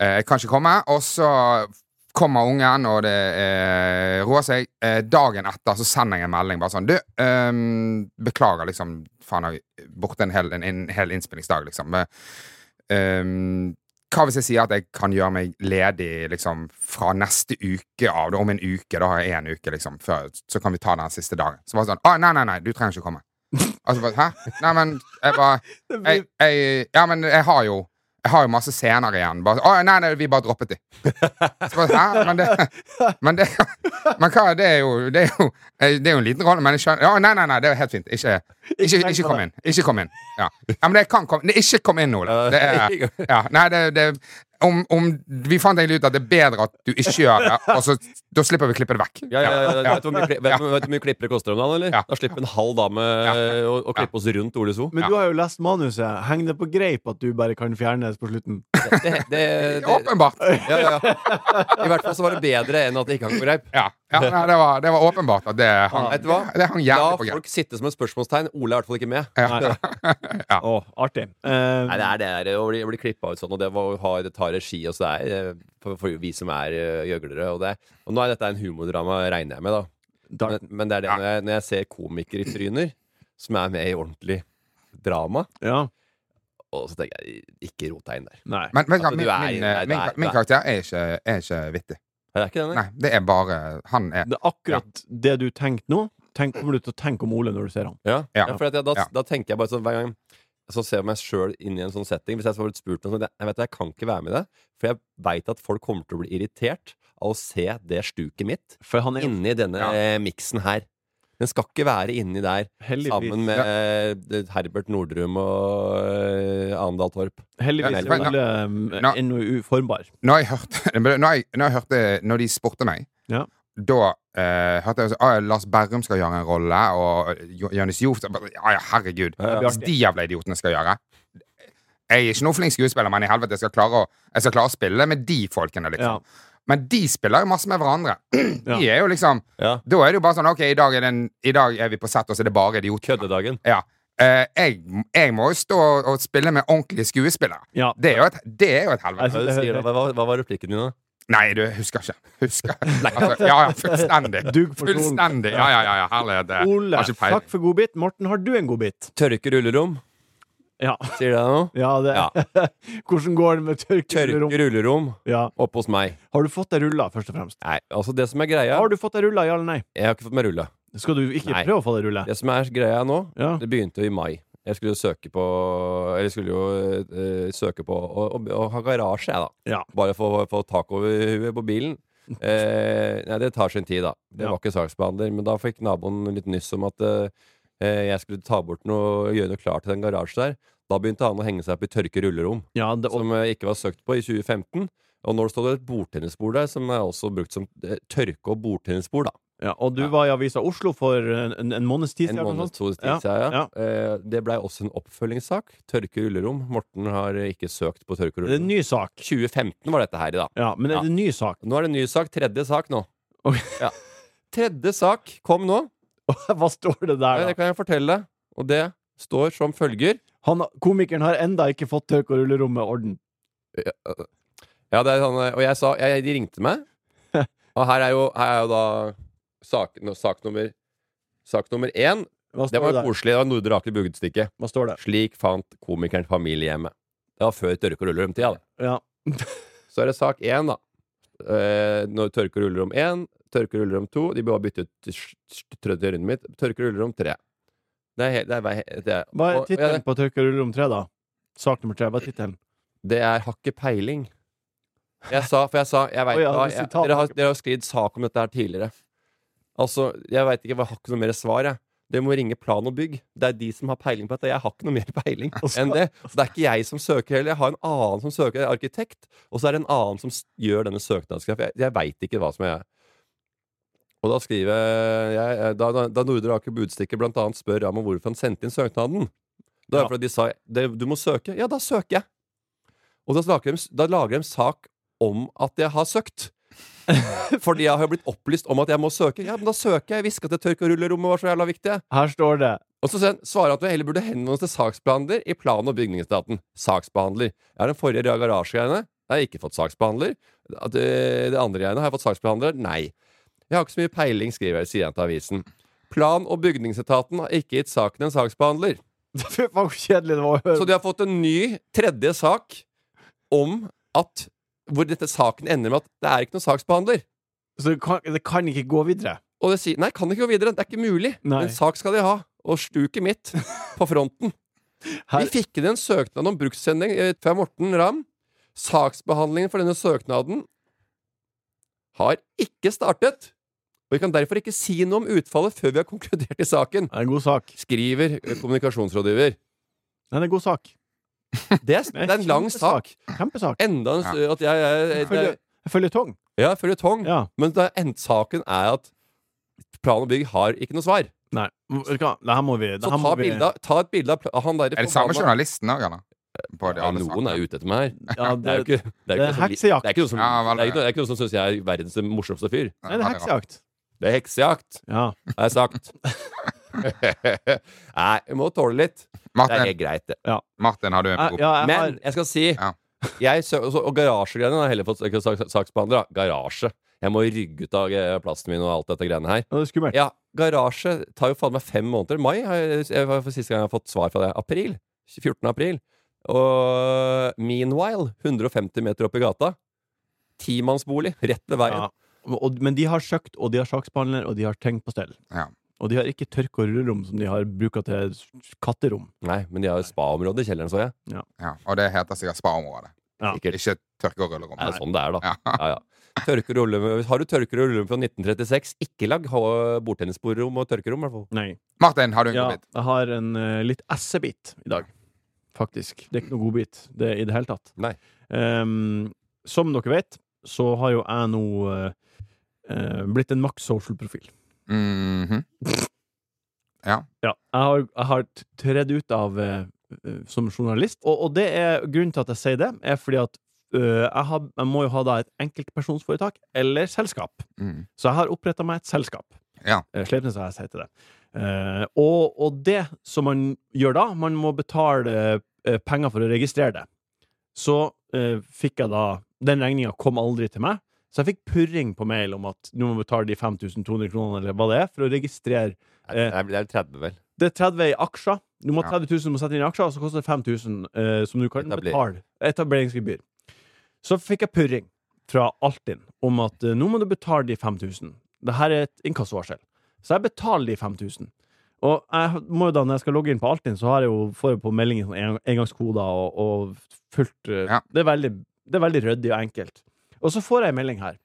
Speaker 4: Eh, jeg kan ikke komme. Og så kommer ungen, og det eh, roer seg. Eh, dagen etter så sender jeg en melding bare sånn Du, ehm, beklager, liksom. Faen, jeg er borte en hel, en, en hel innspillingsdag, liksom. Eh, ehm, hva hvis jeg sier at jeg kan gjøre meg ledig liksom, fra neste uke av? Da, om en uke, da har jeg én uke liksom, før, så kan vi ta den siste dagen. Så bare sånn Å, nei, nei, nei, du trenger ikke komme. Altså bare, Hæ? Nei, men jeg bare jeg, jeg, Ja, men jeg har jo Jeg har jo masse scener igjen. Bare, Å, nei, nei, vi bare droppet de. Så bare, Hæ? Men det Men det Men hva, det er jo Det er jo, eh, det er jo en liten rolle, men jeg skjønner Ja, nei, nei, nei, det er helt fint. Ikke ikke,
Speaker 2: tenk
Speaker 4: ikke
Speaker 2: på
Speaker 4: kom
Speaker 2: det.
Speaker 4: inn. Ikke kom inn. Ja. ja, men det kan komme det, Ikke kom inn, liksom. Ole. Det er, ja, nei, det, det om, om, Vi fant egentlig ut at det er bedre at du ikke gjør det, og så da slipper vi å klippe det vekk.
Speaker 5: Ja, ja, ja, ja. Vet du hvor mye, kli- vet
Speaker 4: Ja.
Speaker 5: du vet du hvor mye klipper det koster om dagen, eller?
Speaker 4: Ja.
Speaker 5: Da slipper en halv dame eh, å, å klippe oss rundt Ole So.
Speaker 2: Men du har jo lest manuset. Henger det på greip at du bare kan fjernes på slutten?
Speaker 5: Det, det, det, det,
Speaker 4: Åpenbart.
Speaker 5: ja, ja, ja. I hvert fall så var det bedre enn at det ikke hang på greip.
Speaker 4: Ja, ja nei, det, var, det var åpenbart at det hang,
Speaker 5: Ja, vet du hva?
Speaker 4: det hang
Speaker 5: La
Speaker 4: jævlig på greip.
Speaker 5: folk sitte som et spørsmålstegn. Ole er i hvert fall ikke med.
Speaker 2: Å, artig. Eh,
Speaker 5: Nei, det er det er å bli, bli klippa ut sånn, og det, var, å ha- det tar regi, og så det er eh, for, for vi som er eh, gjøglere. Og, det, og nå er dette en humordrama, regner jeg med, da.
Speaker 2: Dark.
Speaker 5: Men, men det er det
Speaker 4: Ja.
Speaker 5: når, jeg, når jeg ser komikertryner som er med i ordentlig drama,
Speaker 2: Ja.
Speaker 5: og så tenker jeg ikke rot deg inn der.
Speaker 2: Nei.
Speaker 4: Men, men
Speaker 5: Altså,
Speaker 4: min,
Speaker 5: du er-
Speaker 4: min,
Speaker 5: nei, du
Speaker 4: min,
Speaker 5: er- du
Speaker 4: min
Speaker 5: er-
Speaker 4: karakter er ikke, er ikke vittig.
Speaker 5: Nei, Det er ikke det, nei.
Speaker 4: Nei, det er bare Han er
Speaker 2: Det er akkurat det du tenkte nå. Tenk, kommer du til å tenke om Ole når du ser han?
Speaker 5: Ja.
Speaker 4: Ja.
Speaker 5: Ja, for at jeg, da,
Speaker 4: Ja.
Speaker 5: da tenker jeg bare sånn hver gang så ser jeg meg sjøl inn i en sånn setting. Hvis jeg hadde blitt spurt om sånn, jeg vet, du, jeg kan ikke være med i det, for jeg veit at folk kommer til å bli irritert av å se det stuket mitt
Speaker 2: For han er jo
Speaker 5: inni denne
Speaker 4: Ja.
Speaker 5: eh, miksen her. Den skal ikke være inni der
Speaker 2: heldigvis,
Speaker 5: sammen med eh, det- Herbert Nordrum og eh, Andal Torp.
Speaker 2: heldigvis
Speaker 4: Ja,
Speaker 2: er
Speaker 4: men-
Speaker 2: Ole
Speaker 4: Nå-
Speaker 2: eh, ennå uformbar.
Speaker 4: Når jeg hørte Når jeg, når jeg hørte eh, Når de spurte meg,
Speaker 2: Ja.
Speaker 4: da eh, hørte jeg også, ah, Lars Berrum skal gjøre en rolle, og eh, Jo- Jonis Jof så bare, Ja, ja, herregud.
Speaker 5: Ja, ja.
Speaker 4: Hvis de jævla idiotene skal gjøre Jeg er ikke noen flink skuespiller, men i helvete, jeg skal klare å, jeg skal klare å spille med de folkene,
Speaker 2: Ja.
Speaker 4: liksom. Men de spiller jo masse med hverandre. De
Speaker 2: Ja.
Speaker 4: er jo liksom
Speaker 5: Ja.
Speaker 4: Da er det jo bare sånn OK, i dag er, det en- i dag er vi på sett, og så er det bare idioter.
Speaker 5: Køddedagen.
Speaker 4: Ja. Eh, jeg, jeg må jo stå og, og spille med ordentlige skuespillere.
Speaker 2: Ja.
Speaker 4: Det er jo et, det er jo et helvete.
Speaker 5: Hva, er det du sier da? hva, hva var replikken din, da?
Speaker 4: Nei, du, jeg husker ikke. Husker. Altså, ja, ja, fullstendig.
Speaker 2: Dug for solen.
Speaker 4: Fullstendig. Ja, ja, ja. ja herlighet. det-
Speaker 2: Ole,
Speaker 4: Har ikke peiling.
Speaker 2: takk for godbit. Morten, har du en godbit?
Speaker 5: Tørke rullerom.
Speaker 2: Ja.
Speaker 5: Sier det deg noe?
Speaker 2: ja, det.
Speaker 5: Ja.
Speaker 2: Hvordan går det med
Speaker 5: Tørke
Speaker 2: tørkerom?
Speaker 5: rullerom
Speaker 2: Ja.
Speaker 5: oppe hos meg.
Speaker 2: Har du fått deg rulla, først og fremst?
Speaker 5: Nei, altså det som er greia
Speaker 2: Har du fått deg rulla, ja eller nei?
Speaker 5: Jeg har ikke fått meg rulle.
Speaker 2: Skal du ikke
Speaker 5: Nei.
Speaker 2: prøve å få deg rulle?
Speaker 5: Det som er greia nå,
Speaker 2: Ja.
Speaker 5: det begynte jo i mai. Jeg skulle jo søke på Eller skulle jo eh, søke på å, å, å ha garasje, jeg, da.
Speaker 2: Ja.
Speaker 5: Bare for å få tak over huet på bilen. Eh, nei, det tar sin tid, da. Det
Speaker 2: Ja.
Speaker 5: var ikke saksbehandler. Men da fikk naboen litt nyss om at eh, eh, jeg skulle ta bort noe gjøre noe klart til den garasjen der. Da begynte han å henge seg opp i tørke rullerom
Speaker 2: Ja, det, og,
Speaker 5: som eh, ikke var søkt på i 2015. Og nå står det et bordtennisbord der, som er også brukt som eh, tørke- og bordtennisbord. da.
Speaker 2: ja, og du
Speaker 5: Ja.
Speaker 2: var i Avisa Oslo for en, en, en måneds tid
Speaker 5: En
Speaker 2: siden? eller noe
Speaker 5: måned,
Speaker 2: sånt?
Speaker 5: to
Speaker 2: Ja,
Speaker 5: ja, ja.
Speaker 2: ja.
Speaker 5: Eh, Det blei også en oppfølgingssak. Tørke rullerom. Morten har eh, ikke søkt på tørke
Speaker 2: Er det en
Speaker 5: rullerom.
Speaker 2: ny sak?
Speaker 5: 2015 var dette her i, da.
Speaker 2: Ja, men er det en ny sak?
Speaker 5: Nå er det en ny sak. Tredje sak nå.
Speaker 2: Ok.
Speaker 5: Ja. Tredje sak kom nå.
Speaker 2: Hva står det der,
Speaker 5: Ja,
Speaker 2: da?
Speaker 5: Det kan jeg fortelle. Og det står som følger
Speaker 2: Han, komikeren har enda ikke fått tørk- og rullerommet orden.
Speaker 5: Ja, det er sånn, eh, og jeg sa jeg, De ringte meg. Og her er jo, her er jo da sak, nå- sak, nummer, sak nummer én.
Speaker 2: Hva
Speaker 5: Det
Speaker 2: står
Speaker 5: var
Speaker 2: det,
Speaker 5: jo koselig. Det var Nordre Aker Bugdestikke.
Speaker 2: Hva står det?
Speaker 5: Slik fant komikeren familiehjemmet. Det var før tørke- og rulleromtida. det.
Speaker 2: Ja.
Speaker 5: Så er det sak én, da. Eh, når tørke- og rullerom én, tørke- og rullerom to De bør bytte ut sj- sj- tredje rundet mitt. Tørke- og rullerom tre. Det er, he- det er, vei- det er,
Speaker 2: Hva er
Speaker 5: og- ja,
Speaker 2: tittelen
Speaker 5: det-
Speaker 2: på tørk- og rullerom 3, da? Sak nummer tre, hva er tittelen?
Speaker 5: det er hakket peiling. Jeg sa, for jeg sa jeg vet,
Speaker 2: Å ja,
Speaker 5: hva-
Speaker 2: det er
Speaker 5: jeg,
Speaker 2: sitat.
Speaker 5: Dere har dere har jo skrevet sak om dette her tidligere. Altså, jeg veit ikke, jeg har ikke noe mer svar, jeg. Dere må ringe Plan og Bygg. Det er de som har peiling på dette. Jeg har ikke noe mer peiling
Speaker 2: Altså-
Speaker 5: enn det. Så det er ikke jeg som søker heller. Jeg har en annen som søker, jeg er arkitekt. Og så er det en annen som s- gjør denne søknadsgrafen. Jeg, jeg veit ikke hva som er jeg. Og da skriver jeg eh, Da, da- da Nordre Aker Budstikke blant annet spør Ram om hvorfor han sendte inn søknaden, da er det
Speaker 2: Ja.
Speaker 5: fordi de sa det, du må søke. Ja, da søker jeg. Og da lager, de, da lager de sak om at jeg har søkt. Fordi jeg har blitt opplyst om at jeg må søke. Ja, men da søker jeg. Jeg visste ikke at det tørke- og rullerommet var så jævla viktig.
Speaker 2: Her står det
Speaker 5: Og så sen- svarer han at du heller burde henvende oss til saksbehandler i plan- og bygningsstaten. Saksbehandler. Jeg har den forrige garasjegreiene. Jeg har ikke fått saksbehandler. At, øh, Det andre greiene har jeg fått saksbehandler. Nei. Jeg har ikke så mye peiling, skriver jeg, sier han til avisen. Plan- og bygningsetaten har ikke gitt saken en saksbehandler.
Speaker 2: Fy faen, hvor kjedelig det var å høre.
Speaker 5: Så de har fått en ny tredje sak om at hvor dette saken ender med at det er ikke noen saksbehandler.
Speaker 2: Så det kan, det kan ikke gå videre.
Speaker 5: Og det sier Nei, kan det ikke gå videre. Det er ikke mulig.
Speaker 2: Nei.
Speaker 5: En sak skal de ha. Og stuket mitt på fronten.
Speaker 2: Her-
Speaker 5: Vi fikk inn en søknad om brukssending eh, fra Morten Ramm. Saksbehandlingen for denne søknaden har ikke startet. Og vi kan derfor ikke si noe om utfallet før vi har konkludert i saken,
Speaker 2: Det er en god sak.
Speaker 5: skriver eh, kommunikasjonsrådgiver.
Speaker 2: Det er en god sak.
Speaker 5: Det er, det er en lang sak. Eh,
Speaker 2: Kjempesak.
Speaker 5: Enda en s- at jeg, jeg, jeg, jeg
Speaker 2: Følge- Føljetong.
Speaker 5: Ja, føljetong.
Speaker 2: Ja.
Speaker 5: Men det er endt saken er at Plan og bygg har ikke noe svar.
Speaker 2: Nei, vet du hva? det her må vi det
Speaker 5: Så
Speaker 2: her
Speaker 5: ta,
Speaker 2: må vi-
Speaker 5: bilde av- ta et bilde av pla- av han der
Speaker 4: Er det samme
Speaker 5: forbanna-
Speaker 4: journalisten òg, eller? På de
Speaker 5: Ja,
Speaker 4: alle
Speaker 5: noen er
Speaker 4: sakene.
Speaker 5: ute etter meg her.
Speaker 2: Ja,
Speaker 5: Det er jo
Speaker 2: det,
Speaker 5: ikke, det er jo
Speaker 2: det er
Speaker 5: ikke, noe som-
Speaker 2: heksejakt.
Speaker 5: det er ikke noe som,
Speaker 4: Ja, vel,
Speaker 5: det er ikke noe- det er ikke noe som syns jeg er verdens morsomste fyr.
Speaker 4: Ja,
Speaker 2: Nei, det er
Speaker 4: veldig rart.
Speaker 2: heksejakt.
Speaker 5: Det er heksejakt,
Speaker 2: Ja.
Speaker 5: har jeg sagt. Nei, vi må tåle litt. Det er
Speaker 4: Martin,
Speaker 5: helt greit, det.
Speaker 4: Martin, har du en
Speaker 2: Jeg,
Speaker 4: prop?
Speaker 2: ja, jeg har,
Speaker 5: Men jeg skal si
Speaker 4: Ja.
Speaker 5: jeg sø også, Og garasjegreiene har jeg heller fått ikke sak- saksbehandler. da. Garasje. Jeg må rygge ut av eh, plassen min og alt dette greiene her.
Speaker 2: Ja, det er skummelt.
Speaker 5: Ja, garasje tar jo faen meg fem måneder. Mai har jeg, jeg, var- for siste gang jeg har fått svar fra deg. April. 14. april. Og meanwhile, 150 meter opp i gata. Timannsbolig rett ved veien.
Speaker 2: Ja. Og, men de har søkt, og de har saksbehandler, og de har tenkt på stell.
Speaker 4: Ja.
Speaker 2: Og de har ikke tørk- og rullerom som de har bruka til s- katterom.
Speaker 5: Nei, men de har jo spaområde i kjelleren, så jeg.
Speaker 4: Ja. Og det heter sikkert spaområdet.
Speaker 2: Ja.
Speaker 5: Sikkert.
Speaker 4: Ikke tørke- og
Speaker 5: Det er
Speaker 4: rullerom.
Speaker 5: sånn det er, da.
Speaker 4: Ja.
Speaker 5: Ja, ja. Tørker og rulle- har du tørker og rullerom fra 1936, ikke lag ha- bordtennisbordrom og tørkerom, i hvert fall.
Speaker 2: Nei.
Speaker 4: Martin, har du en
Speaker 2: Ja,
Speaker 4: godbit?
Speaker 2: jeg har en eh, litt essebit i dag, faktisk. Det er ikke noe godbit det, i det hele tatt.
Speaker 5: Nei.
Speaker 2: Ehm, som dere vet, så har jo jeg nå eh, eh, blitt en Max Social-profil.
Speaker 4: Mhm.
Speaker 2: Ja, jeg har, jeg har t- tredd ut av eh, eh, som journalist, og, og det er grunnen til at jeg sier det, er fordi at eh, jeg, har, jeg må jo ha da et enkeltpersonsforetak eller selskap.
Speaker 4: Mm.
Speaker 2: Så jeg har oppretta meg et selskap.
Speaker 4: Ja.
Speaker 2: Eh, Sleipnes AS heter det. Eh, og, og det som man gjør da, man må betale eh, penger for å registrere det. Så eh, fikk jeg da Den regninga kom aldri til meg, så jeg fikk purring på mail om at nå må du betale de 5200 kronene, eller hva det er, for å registrere
Speaker 5: Det er det er 30, vel.
Speaker 2: det er 30 i aksjer. Du må ha
Speaker 4: Ja.
Speaker 2: 30 000 du må sette inn i aksjer, og så koster det 5000 eh, som du kan
Speaker 5: Etabler-
Speaker 2: betale. Etableringsgebyr. Så fikk jeg purring fra Altinn om at eh, nå må du betale de 5000. Dette er et inkassovarsel. Så jeg betaler de 5000. Og jeg må jo da, når jeg skal logge inn på Altinn, så har jeg jo, får jeg på meldinger sånn en- engangskoder og, og fullt eh,
Speaker 4: Ja.
Speaker 2: Det er veldig, det er veldig ryddig og enkelt. Og så får jeg en melding her,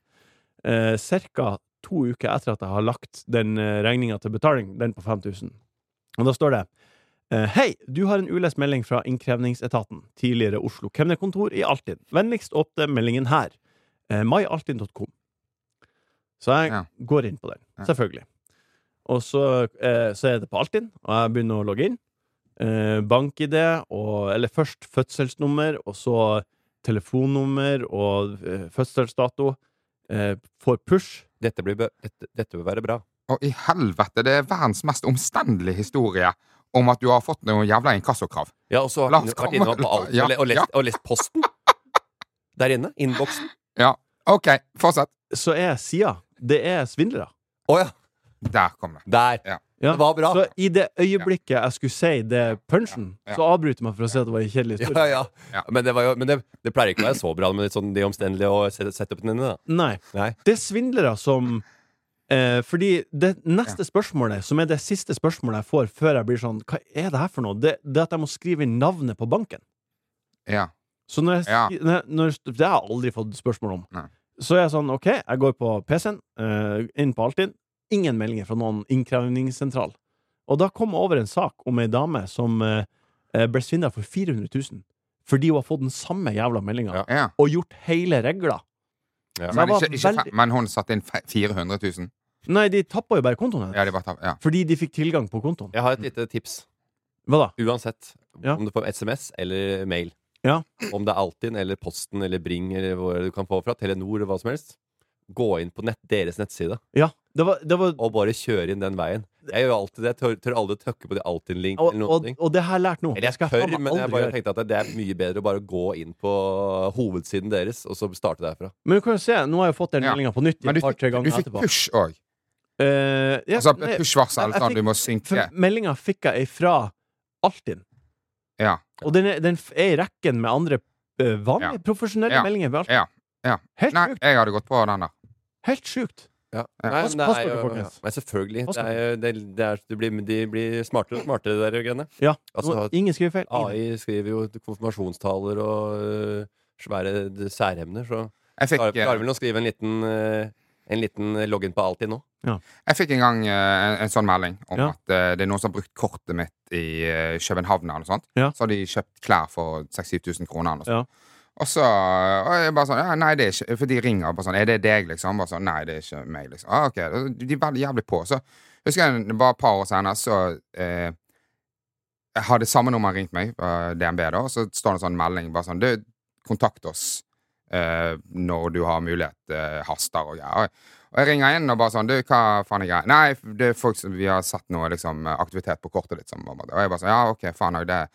Speaker 2: eh, ca. to uker etter at jeg har lagt den eh, regninga til betaling, den på 5000. Og da står det eh, Hei, du har en ulest melding fra Innkrevningsetaten, tidligere Oslo kemnerkontor i Altinn. Vennligst åpne meldingen her. Eh, maialtinn.com. Så jeg
Speaker 4: Ja.
Speaker 2: går inn på den,
Speaker 4: Ja.
Speaker 2: selvfølgelig. Og så, eh, så er det på Altinn, og jeg begynner å logge inn. Eh, BankID, og, eller først fødselsnummer, og så telefonnummer og eh, fødselsdato. Eh, får push.
Speaker 5: Dette, blir, bø- dette, dette bør være bra.
Speaker 4: Og i helvete, det er verdens mest omstendelige historie om at du har fått noen jævla inkassokrav.
Speaker 5: Ja, og så har
Speaker 4: La oss
Speaker 5: jeg vært
Speaker 4: komme-
Speaker 5: innom på alt
Speaker 4: Ja,
Speaker 5: og, le- og, lest,
Speaker 4: ja.
Speaker 5: og lest posten. Der inne. Innboksen.
Speaker 4: Ja, OK, fortsett.
Speaker 2: Så er sida Det er svindlere.
Speaker 5: Å ja.
Speaker 4: Der kom det.
Speaker 5: Der.
Speaker 2: Ja.
Speaker 5: Det var bra.
Speaker 2: Så i det øyeblikket jeg skulle si det punchen,
Speaker 4: Ja, ja.
Speaker 2: så avbryter man for å si at det var en kjedelig
Speaker 5: Ja,
Speaker 2: historie.
Speaker 5: ja.
Speaker 4: Ja.
Speaker 5: Men, det, var jo, men det, det pleier ikke å være så bra med litt sånn de omstendelige og set- setupen inne. Da.
Speaker 2: Nei.
Speaker 5: Nei.
Speaker 2: Det er svindlere som eh, Fordi det neste spørsmålet, som er det siste spørsmålet jeg får før jeg blir sånn Hva er det her for noe? Det, det at jeg må skrive inn navnet på banken.
Speaker 4: Ja.
Speaker 2: Så når jeg,
Speaker 4: Ja.
Speaker 2: skri- når, når, det har jeg aldri fått spørsmål om.
Speaker 4: Nei.
Speaker 2: Så er jeg sånn OK, jeg går på PC-en, eh, inn på Altinn. Ingen meldinger fra noen innkrevingssentral. Og da kom jeg over en sak om ei dame som eh, eh, ble svindla for 400 000 fordi hun har fått den samme jævla meldinga
Speaker 5: Ja.
Speaker 4: ja.
Speaker 2: og gjort hele regla.
Speaker 5: Ja.
Speaker 2: Så jeg
Speaker 4: Men,
Speaker 2: var
Speaker 4: ikke, ikke, fe-
Speaker 2: veldig-
Speaker 4: men hun satte inn fe- 400 000.
Speaker 2: Nei, de tappa jo bare kontoen hennes.
Speaker 4: Ja, de bare tar, ja.
Speaker 2: Fordi de fikk tilgang på kontoen.
Speaker 5: Jeg har et lite tips.
Speaker 2: Hva da?
Speaker 5: Uansett
Speaker 2: Ja.
Speaker 5: om du får SMS eller mail.
Speaker 2: Ja.
Speaker 5: Om det er Altinn eller Posten eller Bring eller hvor du kan få fra, Telenor eller hva som helst. Gå inn på nett, deres nettside
Speaker 2: Ja, det var, det var
Speaker 5: og bare kjøre inn den veien. Jeg gjør alltid det. Jeg tør, tør aldri tøkke på de Altinn-link
Speaker 2: og,
Speaker 5: eller noen
Speaker 2: og,
Speaker 5: ting.
Speaker 2: og det har jeg lært nå.
Speaker 5: Eller jeg
Speaker 2: skal
Speaker 5: tør,
Speaker 2: faen meg
Speaker 5: men jeg
Speaker 2: aldri
Speaker 5: bare
Speaker 2: gjøre.
Speaker 5: tenkte at det er mye bedre å bare gå inn på hovedsiden deres, og så starte derfra.
Speaker 2: Men du kan jo se, nå har jeg jo fått den
Speaker 4: Ja.
Speaker 2: meldinga på nytt
Speaker 4: Men
Speaker 2: et
Speaker 4: du
Speaker 2: par-tre
Speaker 4: fikk, du
Speaker 2: ganger
Speaker 4: fikk
Speaker 2: etterpå.
Speaker 4: push òg.
Speaker 2: Eh, ja,
Speaker 4: Altså
Speaker 2: nei,
Speaker 4: push-varsel.
Speaker 2: jeg
Speaker 4: Sånn, du
Speaker 2: fikk-
Speaker 4: må synke.
Speaker 2: For meldinga fikk jeg fra Altinn.
Speaker 4: Ja.
Speaker 2: Og den er, den f- er i rekken med andre eh, vanlige, profesjonelle
Speaker 4: Ja.
Speaker 2: meldinger. ved Altinn.
Speaker 4: Ja. Ja.
Speaker 2: Helt
Speaker 4: Nei,
Speaker 2: sjukt!
Speaker 4: jeg hadde gått på den der.
Speaker 2: Helt sjukt.
Speaker 5: Nei,
Speaker 2: Pass-
Speaker 5: men det
Speaker 2: pass
Speaker 5: er
Speaker 2: på det,
Speaker 5: jo-
Speaker 2: folkens.
Speaker 5: Nei, selvfølgelig.
Speaker 2: Pass
Speaker 5: Det
Speaker 2: på
Speaker 5: er, jo- det, det er, du blir, de blir smartere og smartere, de der greiene.
Speaker 2: Ja.
Speaker 5: Altså,
Speaker 2: Nå- ingen skriver feil. Ingen.
Speaker 5: AI skriver jo konfirmasjonstaler og øh, svære d- særemner, så
Speaker 4: Jeg fikk,
Speaker 5: klarer klarer
Speaker 4: eh,
Speaker 5: vel å skrive en liten, øh, en liten login på Altinn nå.
Speaker 4: jeg fikk en gang eh, en, en sånn melding om
Speaker 2: Ja.
Speaker 4: at eh, det er noen som har brukt kortet mitt i eh, København. Eller noe sånt.
Speaker 2: Ja.
Speaker 4: Så har de kjøpt klær for 6000-7000 kroner. Eller noe
Speaker 2: Ja.
Speaker 4: sånt. Og så og jeg bare sånn ja, Nei, det er ikke For de ringer bare sånn Er det deg, liksom? Bare sånn, nei, det er ikke meg, liksom. Ah, ok, De er veldig jævlig på. Så husker jeg det var et par år senere, så eh, jeg hadde samme nummer ringt meg eh, fra DNB, da, og så står det en sånn melding bare sånn Du, kontakt oss eh, når du har mulighet. eh, haster og greier. Og jeg ringer inn og bare sånn Du, hva faen er greia? Nei, det er folk som vi har satt noe liksom, aktivitet på kortet ditt. Som, og jeg bare sånn Ja, OK, faen òg, det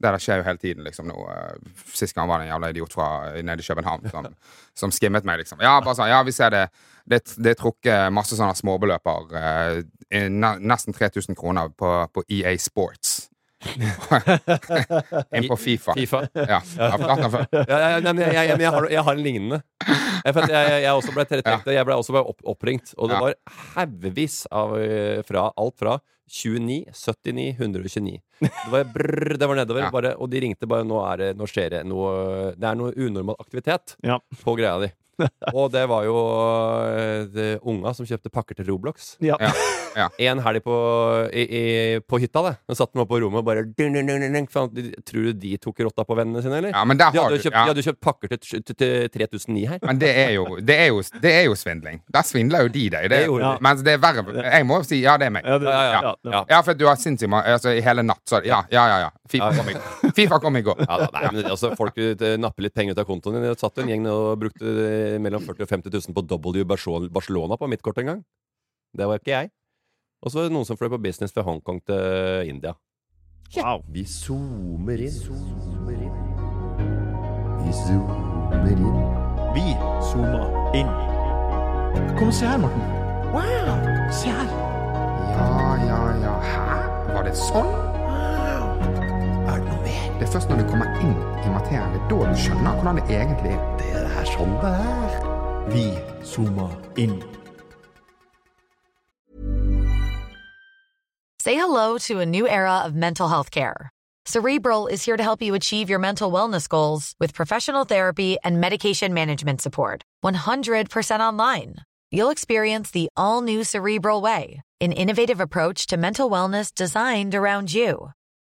Speaker 4: det der skjer jo hele tiden, liksom, nå. eh, Sist gang var det en jævla idiot fra nede i København som, som skimmet meg, liksom. Ja, bare sånn, ja, vi ser det. Det, det er trukket masse sånne småbeløper. eh, i ne- nesten 3000 kroner på, på EA Sports. Inn på Fifa.
Speaker 5: FIFA.
Speaker 4: Ja, jeg har fortalt den før.
Speaker 5: Ja, ja, ja, nei, men jeg, jeg, men jeg, har, jeg har en lignende. Jeg, for at jeg, jeg, jeg også ble tilrettelagt, og jeg ble også bare opp, oppringt. Og det
Speaker 4: Ja.
Speaker 5: var haugevis av eh, fra alt fra 29, 79, 129. Det var, brrr, det var nedover.
Speaker 4: Ja.
Speaker 5: Bare, og de ringte bare Nå, er det, nå skjer det noe Det er noe unormal aktivitet
Speaker 2: Ja.
Speaker 5: på greia di. Og det var jo eh, det, unga som kjøpte pakker til Roblox.
Speaker 2: Ja.
Speaker 4: Ja.
Speaker 5: En helg på, i, i, på hytta, det. Nå satt de oppe på rommet og bare dun, dun, dun, dun, dun. Faen, de- Tror du de tok rotta på vennene sine, eller?
Speaker 4: Ja, men der
Speaker 5: De
Speaker 4: har
Speaker 5: hadde jo
Speaker 4: du
Speaker 5: kjøpt,
Speaker 4: ja.
Speaker 5: de hadde jo kjøpt pakker til, til, til 3009 her.
Speaker 4: Men det er, jo, det, er jo, det er jo svindling. Der svindler jo de deg. Det,
Speaker 5: Det gjorde
Speaker 2: de.
Speaker 4: Mens det er verre. Jeg må jo si ja, det er meg.
Speaker 2: Ja, det,
Speaker 5: Ja, ja, ja.
Speaker 2: det-
Speaker 5: Ja.
Speaker 4: Ja, for at du har sinnssykt mange altså, i hele natt. Så, ja, ja, ja, ja.
Speaker 5: Ja,
Speaker 4: Fifa
Speaker 5: ja.
Speaker 4: kom i går. FIFA kom i går.
Speaker 5: Ja, da, nei, men altså, folk eh, napper litt penger ut av kontoen din. Det satt jo en gjeng og brukte eh, mellom 40 og 50 000 på W Barcelona- Barcelona på mitt kort en gang. Det var ikke jeg. Og så var det noen som fløy på business fra Hongkong til eh, India.
Speaker 2: Wow.
Speaker 6: Vi zoomer inn. Zoomer inn. Vi zoomer inn.
Speaker 2: Vi zooma inn. Kom og se her, Morten. Wow! Se her.
Speaker 4: Ja, ja, ja. Hæ? Var det sånn?
Speaker 6: Er det noe mer?
Speaker 4: Det er først når du kommer inn i materien, det er da du skjønner hvordan det egentlig er.
Speaker 6: Det er det her sånn det er.
Speaker 2: Vi zooma inn.
Speaker 7: Say hello to a new era of mental health care. Cerebral is here to help you achieve your mental wellness goals with professional therapy and medication management support. 100% online. You'll experience the all new Cerebral Way, an innovative approach to mental wellness designed around you.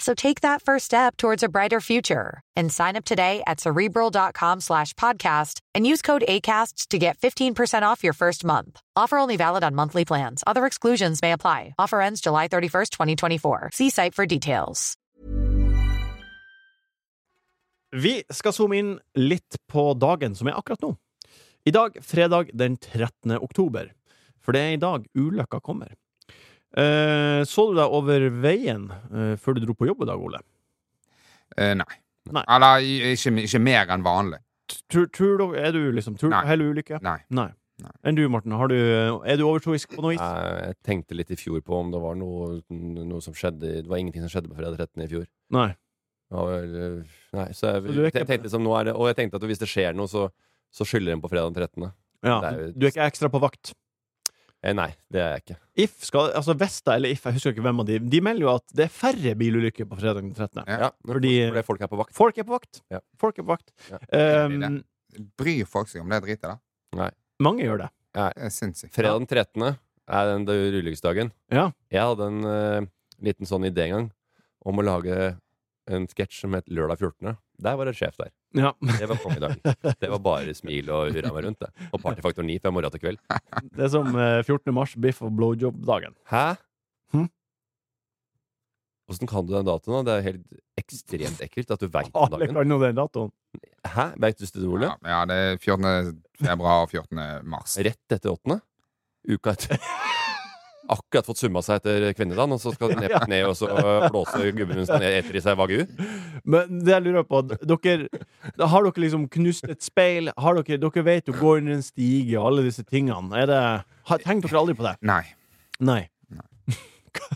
Speaker 7: So take that first step towards a brighter future and sign up today at cerebral.com slash podcast and use code ACAST to get 15% off your first month. Offer only valid on monthly plans. Other exclusions may apply. Offer ends July 31st, 2024. See site for details.
Speaker 2: Vi skal zoome inn litt på dagen som er akkurat nå. I dag, fredag den 13. oktober. For det er i dag ulykka kommer. Eh, så du deg over veien eh, før du dro på jobb i dag, Ole?
Speaker 4: Eh, nei.
Speaker 2: Nei.
Speaker 4: Eller i- ikke, ikke mer enn vanlig.
Speaker 2: Tror, tror du, er du liksom Tror du
Speaker 4: Nei.
Speaker 2: hell og ulykke?
Speaker 4: Nei.
Speaker 2: Nei.
Speaker 4: Nei.
Speaker 2: Enn du, Morten? Har du, eh, er du overtroisk på noe vis?
Speaker 5: Eh, Jeg jeg tenkte litt i fjor på om det var noe, noe som skjedde Det var ingenting som skjedde på fredag 13. i fjor.
Speaker 2: Nei.
Speaker 5: Ja, vel, eh, Nei, så jeg,
Speaker 2: Så du er ikke-
Speaker 5: jeg tenkte liksom, nå er det, Og jeg tenkte at hvis det skjer noe, så, så skylder en på fredag den 13.
Speaker 2: Ja.
Speaker 5: Det er jo-
Speaker 2: Du er ikke ekstra på vakt?
Speaker 5: Eh, nei, det er jeg ikke.
Speaker 2: If skal, altså Vesta eller If, jeg husker ikke hvem av de De melder jo at det er færre bilulykker på fredag den 13.
Speaker 4: Ja.
Speaker 5: Ja,
Speaker 2: Fordi-
Speaker 5: fordi, fordi folk er på vakt.
Speaker 2: Folk er på vakt.
Speaker 5: Ja.
Speaker 2: Folk er på vakt.
Speaker 5: Ja.
Speaker 2: Ehm,
Speaker 4: Bryr folk seg om det dritet der?
Speaker 2: mange gjør det.
Speaker 4: Det er sinnssykt.
Speaker 5: Fredag den 13. er den det er ulykkesdagen.
Speaker 2: Ja.
Speaker 5: Jeg hadde en eh, liten sånn idé en gang om å lage en sketsj som het Lørdag 14. Der var det sjef der.
Speaker 2: Ja.
Speaker 5: Det var kongedagen. Det var bare smil og hurra meg rundt. Det. Og partyfaktor 9 fra morgen til kveld.
Speaker 2: Det er som eh, 14. mars, biff og blowjob-dagen.
Speaker 5: Hæ?
Speaker 2: Hm?
Speaker 5: Åssen kan du den datoen? da? Det er helt ekstremt ekkelt at du veit den
Speaker 2: Alle
Speaker 5: dagen.
Speaker 2: kan jo den datoen.
Speaker 5: Hæ? Veit du det, Ole?
Speaker 4: Ja, ja, det er 14. februar og 14. mars.
Speaker 5: Rett etter åttende. Uka etter. Akkurat fått summa seg etter kvinnedagen, og så skal de ned på kne og så øh, blåse gubben hennes ned etter i seg vagu.
Speaker 2: Men det jeg lurer på dere, da Har dere liksom knust et speil? Har dere, dere vet å gå under en stige og alle disse tingene. Er det, har, tenker dere aldri på det?
Speaker 4: Nei.
Speaker 2: Nei.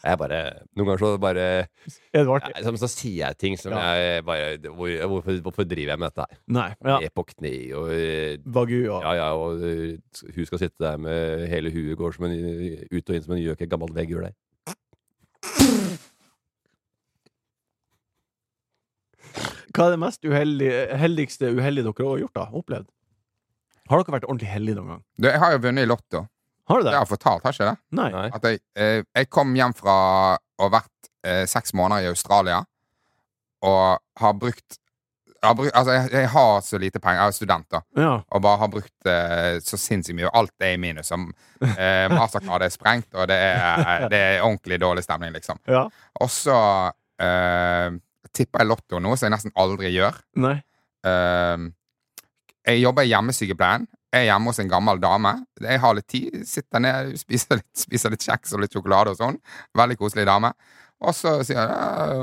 Speaker 5: Jeg bare, noen ganger så bare
Speaker 2: Er det artig?
Speaker 5: Nei, så, så sier jeg ting som jeg bare hvor, hvorfor, hvorfor driver jeg med dette her?
Speaker 2: Nei. Ja.
Speaker 5: Ned på kne og øh,
Speaker 2: Bagu og
Speaker 5: Ja, ja, og øh, hun skal sitte der med hele huet går som en, ut og inn som en gjøk i et gammelt vegghjul der.
Speaker 2: Hva er det mest uheldige, heldigste uheldige dere har gjort, da? Opplevd? Har dere vært ordentlig heldige noen gang?
Speaker 4: Du, jeg har jo vunnet i Lotto.
Speaker 2: Har du
Speaker 4: Det
Speaker 2: det?
Speaker 4: har jeg fortalt, har jeg ikke det?
Speaker 2: Nei.
Speaker 5: Nei.
Speaker 4: At jeg, eh, jeg kom hjem fra å ha vært eh, seks måneder i Australia og har brukt, har brukt Altså, jeg, jeg har så lite penger. Jeg er student, da.
Speaker 2: Ja.
Speaker 4: Og bare har brukt eh, så sinnssykt mye. Alt er i minus. Som, eh, Mastercard er sprengt, og det er, eh, det er ordentlig dårlig stemning, liksom.
Speaker 2: ja.
Speaker 4: Og så eh, tipper jeg Lotto nå, som jeg nesten aldri gjør.
Speaker 2: Nei.
Speaker 4: Eh, jeg jobber i hjemmesykepleien. Jeg er hjemme hos en gammel dame. Jeg har litt tid. Sitter ned, spiser litt, spiser litt kjeks og litt sjokolade og sånn. Veldig koselig dame. Og så, sier jeg, «Ja»,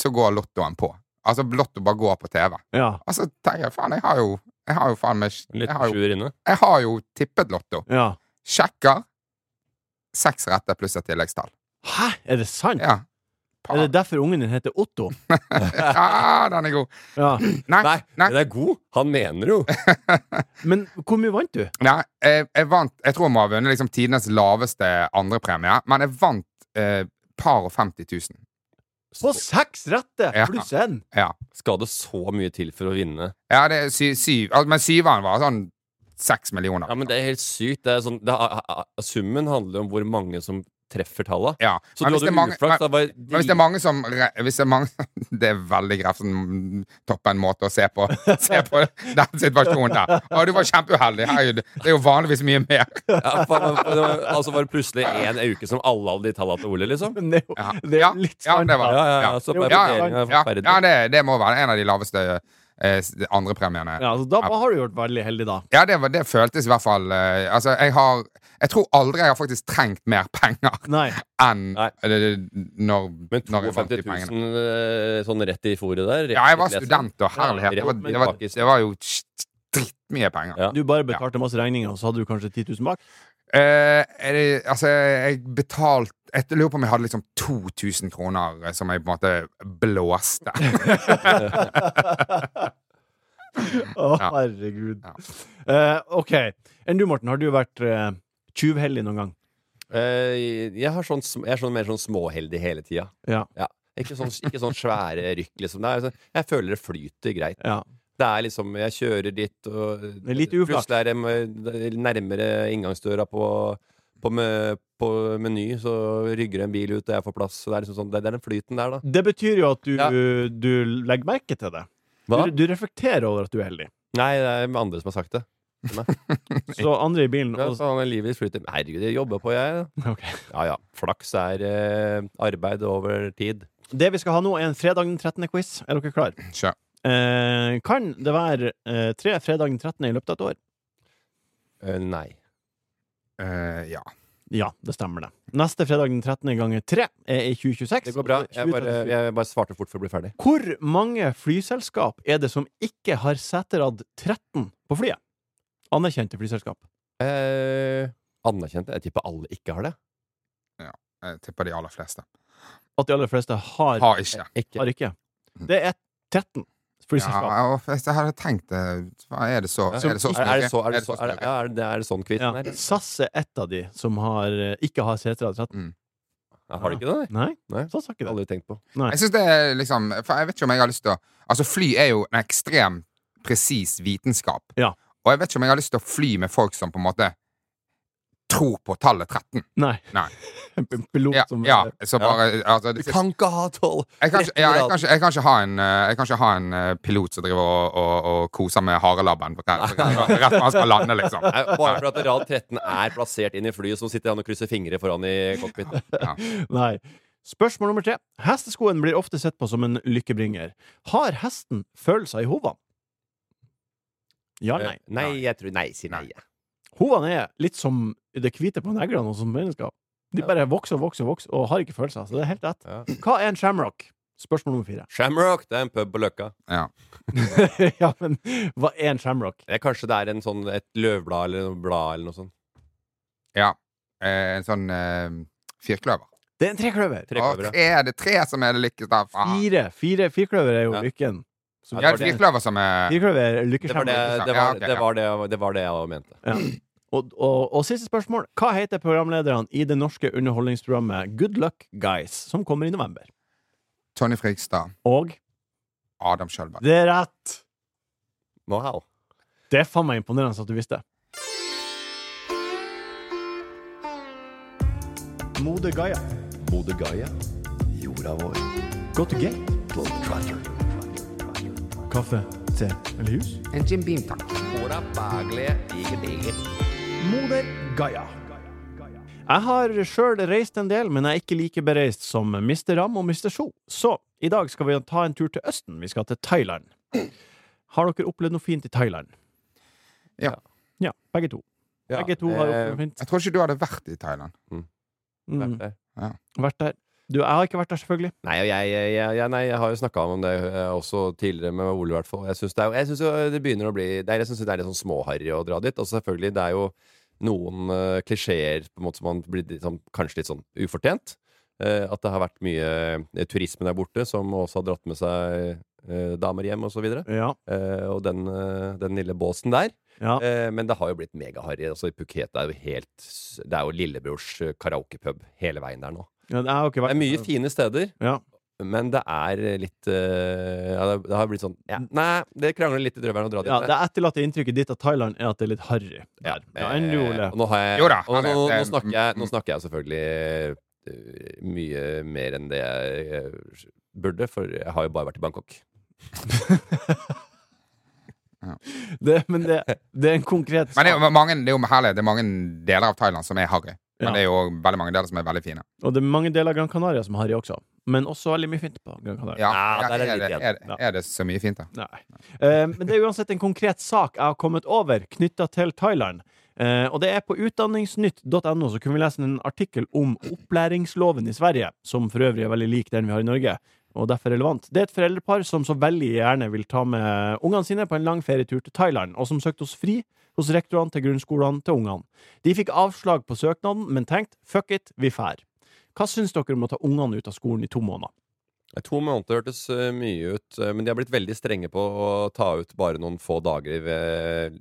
Speaker 4: så går Lottoen på. Altså, Lotto bare går på TV.
Speaker 2: Ja.
Speaker 4: Og så tenker jeg faen, jeg har jo jeg har jo faen meg jeg
Speaker 5: Litt
Speaker 4: har jo,
Speaker 5: sjuer inne.
Speaker 4: jeg har jo tippet Lotto.
Speaker 2: ja.
Speaker 4: Sjekker. Seks retter pluss et tilleggstall.
Speaker 2: Hæ? Er det sant?
Speaker 4: Ja.
Speaker 2: Er det derfor ungen din heter Otto?
Speaker 4: Ja, den er god.
Speaker 2: Ja.
Speaker 4: Nei,
Speaker 5: Nei,
Speaker 4: nei.
Speaker 5: den er god! Han mener jo!
Speaker 2: Men hvor mye vant du?
Speaker 4: Nei, jeg, jeg vant Jeg tror jeg må ha vunnet liksom tidenes laveste andrepremie, men jeg vant eh, par og 50 000.
Speaker 2: På seks retter
Speaker 4: Ja.
Speaker 2: pluss én!
Speaker 4: Ja.
Speaker 5: Skal det så mye til for å vinne?
Speaker 4: ja, det er sy, syv altså, Men syveren var sånn seks millioner.
Speaker 5: Ja, men Det er helt sykt. Det er sånn, det er, a- a- summen handler om hvor mange som treffer tallene.
Speaker 4: Ja.
Speaker 5: Så
Speaker 4: Men
Speaker 5: du
Speaker 4: hvis det
Speaker 5: hadde
Speaker 4: er mange-
Speaker 5: uflaks.
Speaker 4: men-
Speaker 5: da var
Speaker 4: Men hvis det er mange som re- hvis det, er mange, det er veldig sånn, Grefsen Toppen-måte å se på, se på den situasjonen der. Å, du var kjempeuheldig. Herregud, det er jo vanligvis mye mer.
Speaker 5: ja, faen, det var- Altså var det plutselig én uke som alle hadde de tallene til Ole, liksom?
Speaker 2: Men det er jo,
Speaker 4: Ja.
Speaker 2: det er
Speaker 4: Ja.
Speaker 2: jo litt sånn-
Speaker 4: Ja,
Speaker 2: sant.
Speaker 4: det
Speaker 5: sånn.
Speaker 4: var-
Speaker 5: Ja, ja, ja.
Speaker 4: Ja.
Speaker 5: Så
Speaker 2: Jo,
Speaker 5: bare
Speaker 4: ja,
Speaker 5: fordelingen er
Speaker 4: Ja,
Speaker 5: forferdelig.
Speaker 4: ja det, det må være en av de laveste eh, s- andrepremiene.
Speaker 2: Ja, så da har du gjort veldig heldig, da.
Speaker 4: Ja, det, var, det føltes i hvert fall eh, Altså, jeg har Jeg tror aldri jeg har faktisk trengt mer penger
Speaker 2: Nei.
Speaker 4: enn
Speaker 5: Nei.
Speaker 4: eh, når,
Speaker 5: Men
Speaker 4: når jeg vant de
Speaker 5: 52
Speaker 4: pengene.
Speaker 5: 000 eh, sånn rett i fòret der? rett
Speaker 4: Ja, jeg var
Speaker 5: i flessen.
Speaker 4: student, og herlighet. Det var, det var, det var jo dritmye penger.
Speaker 5: Ja.
Speaker 2: Du bare betalte masse regninger, og så hadde du kanskje 10 000 bak?
Speaker 4: Eh, er det, altså, jeg betalte Jeg lurer på om jeg hadde liksom 2000 kroner eh, som jeg på en måte blåste.
Speaker 2: Å,
Speaker 4: Ja.
Speaker 2: herregud.
Speaker 4: Ja.
Speaker 2: Eh, OK. Enn du, Morten, har du vært eh, tjuvheldig noen gang?
Speaker 5: Eh, jeg, har sånn, sm- jeg er sånn mer sånn småheldig hele tida.
Speaker 2: Ja.
Speaker 5: Ikke, sånn, ikke sånn svære rykk, liksom. Det er, sånn- jeg føler det flyter greit.
Speaker 2: Ja.
Speaker 5: Det er liksom Jeg kjører dit, og
Speaker 2: er litt uflaks.
Speaker 5: plutselig er jeg med- nærmere inngangsdøra på, på, me- på Meny, så rygger en bil ut, og jeg får plass. Så det er liksom sånn Det, det er den flyten der, da.
Speaker 2: Det betyr jo at du,
Speaker 5: Ja.
Speaker 2: du legger merke til det. Du,
Speaker 5: Hva?
Speaker 2: du reflekterer over at du er heldig.
Speaker 5: Nei, det er andre som har sagt det.
Speaker 2: Så andre i bilen
Speaker 5: Ja,
Speaker 2: og,
Speaker 5: så han er livet flyter. Herregud, jeg jobber på, jeg.
Speaker 2: Ok.
Speaker 5: Ja ja. Flaks er eh, arbeid over tid.
Speaker 2: Det vi skal ha nå, er en fredag den 13. quiz. Er dere klar?
Speaker 4: Kjør.
Speaker 2: Eh, kan det være eh, tre fredag den 13. i løpet av et år?
Speaker 5: Eh, nei.
Speaker 4: Eh, ja.
Speaker 2: Ja, det stemmer det. Neste fredag den 13. ganger tre er i 2026.
Speaker 5: Det går bra.
Speaker 2: Og så
Speaker 5: Jeg bare,
Speaker 2: 2037.
Speaker 5: jeg bare svarte fort for å bli ferdig.
Speaker 2: Hvor mange flyselskap er det som ikke har seterad 13 på flyet? Anerkjente flyselskap.
Speaker 5: Eh, anerkjente. Jeg tipper alle ikke har det.
Speaker 4: Jeg tipper de aller fleste.
Speaker 2: At de aller fleste har,
Speaker 4: Har ikke.
Speaker 5: Ikke. Mm.
Speaker 2: har ikke. Det er 13 flyselskap.
Speaker 4: Ja, og hvis jeg hadde tenkt det hva Er det så
Speaker 5: Ja.
Speaker 4: Er det så
Speaker 5: er, er det så, er det så,
Speaker 4: snoke?
Speaker 5: er det, ja, er det, er det sånn quizen
Speaker 2: Ja.
Speaker 5: her?
Speaker 2: SAS er ett av de som har, eh, ikke har seterad 13.
Speaker 5: Ja, har de ikke det?
Speaker 2: Nei,
Speaker 5: Nei.
Speaker 2: SAS har ikke Sånn det.
Speaker 5: Aldri tenkt på.
Speaker 2: Nei.
Speaker 4: Jeg synes det er liksom For jeg vet ikke om jeg har lyst til å Altså fly er jo en ekstrem presis vitenskap.
Speaker 2: Ja.
Speaker 4: Og jeg vet ikke om jeg har lyst til å fly med folk som på en måte tror på tallet 13.
Speaker 2: Nei.
Speaker 4: Nei.
Speaker 2: En pilot
Speaker 4: Ja,
Speaker 2: som
Speaker 4: ja så bare altså, det, jeg,
Speaker 5: ikke ha tolv!
Speaker 4: kan ikke, ja, jeg, kan ikke, jeg kan ikke ha en eh, Jeg kan ikke ha en eh, pilot som driver og, og, og koser med harelabben rett rett- rett når han skal lande, liksom.
Speaker 5: Nei, bare for at rad 13 er plassert inn i flyet, så sitter han og krysser fingre foran i cockpiten.
Speaker 2: Nei. Spørsmål nummer tre. Hesteskoen blir ofte sett på som en lykkebringer. Har hesten følelser i hovene? Ja, nei.
Speaker 5: Eh, Nei, jeg tror Nei, si nei. jeg.
Speaker 2: Hovene er litt som det hvite på neglene hos mennesker. De bare vokser og vokser og vokser og har ikke følelser. Så det er helt rett.
Speaker 5: Ja.
Speaker 2: Hva er en shamrock? Spørsmål nummer fire.
Speaker 5: Shamrock, det er en pub på Løkka.
Speaker 2: ja, men hva er en shamrock?
Speaker 5: Det er kanskje det er en sånn, et løvblad eller noe blad eller noe sånt.
Speaker 4: Ja. Eh, En sånn eh, firkløver.
Speaker 2: Det er en trekløver.
Speaker 4: Å,
Speaker 5: Trekløveret.
Speaker 4: tre, det er tre som er det lykkeste. faen.
Speaker 2: Fire. Fire firkløver er jo
Speaker 5: Ja.
Speaker 2: lykken. Så
Speaker 4: Ja, det
Speaker 2: bare-
Speaker 4: er firkløver som er
Speaker 2: Firkløver er
Speaker 5: Det var det,
Speaker 2: lykkeshamrock.
Speaker 5: det, var,
Speaker 4: Ja, ok,
Speaker 5: det, var det, jeg- det var det jeg også mente.
Speaker 2: Ja. Og, og, og siste spørsmål. Hva heter programlederne i det norske underholdningsprogrammet Good Luck Guys, som kommer i november?
Speaker 4: Tony Frigstad,
Speaker 2: Og
Speaker 4: Adam Sjølberg.
Speaker 2: det er rett!
Speaker 5: Wow.
Speaker 2: Det er faen meg imponerende at du visste. Mode Gaia.
Speaker 6: Bodø Gaia, jorda vår.
Speaker 2: Go to gate. Kaffe, te eller hus?
Speaker 3: En Jim Beam, takk.
Speaker 2: Moder Gaia. Jeg har sjøl reist en del, men jeg er ikke like bereist som Mr. Ram og Mr. So. Så i dag skal vi ta en tur til Østen. Vi skal til Thailand. Har dere opplevd noe fint i Thailand?
Speaker 4: Ja.
Speaker 2: Ja, begge to.
Speaker 5: Ja,
Speaker 2: Begge to har
Speaker 5: eh,
Speaker 2: opplevd noe fint.
Speaker 4: Jeg tror ikke du hadde vært i Thailand.
Speaker 2: Mm,
Speaker 5: vært der.
Speaker 2: vært der. Du, jeg har ikke vært der, selvfølgelig.
Speaker 5: Nei, og jeg, jeg, jeg, jeg, nei, jeg har jo snakka om det eh, også tidligere med Ole, i hvert fall. Jeg syns det, er jo- jeg synes jo det begynner å bli det er, Jeg synes det er litt sånn småharry å dra dit. Og selvfølgelig, det er jo noen eh, klisjeer på en måte som man blir litt sånn- kanskje litt sånn ufortjent. Eh, at det har vært mye eh, turisme der borte som også har dratt med seg eh, damer hjem, osv. Og, så videre.
Speaker 2: Ja.
Speaker 5: eh, og den, eh, den lille båsen der.
Speaker 2: ja.
Speaker 5: Eh, men det har jo blitt megaharry. Altså, Phuket er jo helt s- Det er jo lillebrors eh, karaokepub hele veien der nå.
Speaker 2: Jeg har ikke
Speaker 5: Det
Speaker 2: vært
Speaker 5: er mye fine steder.
Speaker 2: Ja.
Speaker 5: Men det er litt eh, ja, det, det har blitt sånn ja, Nei, det krangler litt i drøvelen å dra dit.
Speaker 2: Ja, det etterlatte inntrykket ditt av Thailand er at det er litt harry.
Speaker 5: Ja,
Speaker 2: der. Ja,
Speaker 4: eh,
Speaker 2: enn du, Ole?
Speaker 5: Eh, og nå har jeg,
Speaker 4: Jo da,
Speaker 5: og
Speaker 4: han
Speaker 5: nå,
Speaker 4: er-
Speaker 5: nå,
Speaker 4: det-
Speaker 5: snakker jeg, nå snakker jeg selvfølgelig eh, mye mer enn det jeg eh, burde, for jeg har jo bare vært i Bangkok.
Speaker 2: Det, men det, det er en konkret
Speaker 4: Men det er
Speaker 2: sak.
Speaker 4: jo mange, det er jo herlig, det er mange deler av Thailand som er harry. Men
Speaker 2: Ja.
Speaker 4: det er jo også veldig mange deler som er veldig fine.
Speaker 2: Og det er mange deler av Gran Canaria som har harry også. Men også veldig mye fint på Gran Canaria.
Speaker 4: Ja,
Speaker 5: Ja, der er
Speaker 4: er,
Speaker 5: det
Speaker 4: det,
Speaker 5: litt
Speaker 4: er, det, er det så mye fint, da?
Speaker 2: Nei. Eh, men det er uansett en konkret sak jeg har kommet over knytta til Thailand. Eh, og det er på utdanningsnytt.no så kunne vi lese en artikkel om opplæringsloven i Sverige, som for øvrig er veldig lik den vi har i Norge. og derfor relevant. Det er et foreldrepar som så veldig gjerne vil ta med ungene sine på en lang ferietur til Thailand, og som søkte oss fri hos rektorene til grunnskolene til ungene. De fikk avslag på søknaden, men tenkte fuck it, vi fær. Hva syns dere om å ta ungene ut av skolen i to måneder?
Speaker 5: Nei, To måneder hørtes eh, mye ut, eh, men de har blitt veldig strenge på å ta ut bare noen få dager ved,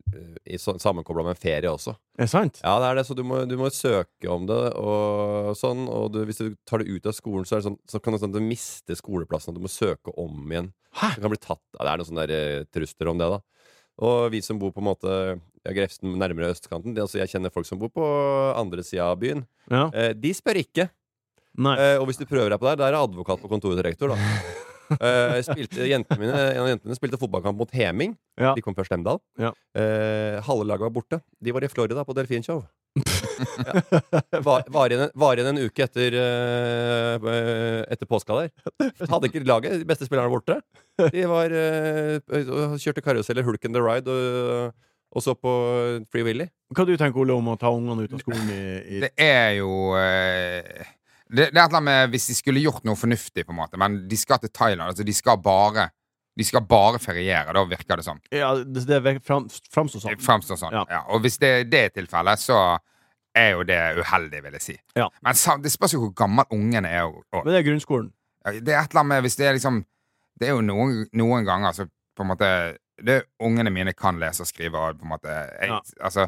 Speaker 5: i så- sammenkoblet med en ferie også.
Speaker 2: Er det sant?
Speaker 5: Ja, det er det, så du må, du må søke om det og sånn, og du, hvis du tar det ut av skolen, så, er det sånn, så kan det sånn at du miste skoleplassen, og du må søke om igjen.
Speaker 2: Hæ?
Speaker 5: Du kan bli tatt, ja, det er noen sånne der, eh, trusler om det da. Og vi som bor på en måte, ja, Grefsen nærmere østkanten, det, er altså, jeg kjenner folk som bor på andre siden av byen.
Speaker 2: Ja.
Speaker 5: Eh, de spør ikke.
Speaker 2: Nei.
Speaker 5: Eh, og hvis du prøver deg på det, her, der er advokat på kontoret til rektor, da. Eh, spilte, jentene mine, en av jentene mine spilte fotballkamp mot Heming.
Speaker 2: Ja.
Speaker 5: De kom fra Stemdal.
Speaker 2: Ja.
Speaker 5: Eh, halve laget var borte. De var i Florida på delfinshow. ja. var, var, igjen, var igjen en uke etter, eh, etter påska der. Hadde ikke laget. De beste spillerne var borte. De var, eh, og kjørte karuseller, Hulk and the Ride, og, og så på Free Willy.
Speaker 2: Hva du tenker Ole om å ta ungene ut av skolen i, i...
Speaker 4: Det er jo eh, det, det er et eller annet med hvis de skulle gjort noe fornuftig, på en måte, men de skal til Thailand. Altså, de skal bare De skal bare feriere, da virker det som.
Speaker 2: Ja, det, det virker fram, framstår
Speaker 4: Det
Speaker 2: sånn.
Speaker 4: Framstår sånn.
Speaker 2: Ja.
Speaker 4: Ja. Og hvis det, det er tilfellet, så er jo det uheldig, vil jeg si.
Speaker 2: Ja.
Speaker 4: Men sam, det spørs jo hvor gammel ungen er. Og, og,
Speaker 2: Men det er grunnskolen.
Speaker 4: Ja, Det er et eller annet med Hvis det er liksom Det er jo noen, noen ganger så på en måte det, Ungene mine kan lese og skrive, og på en måte jeg,
Speaker 2: Ja.
Speaker 4: Altså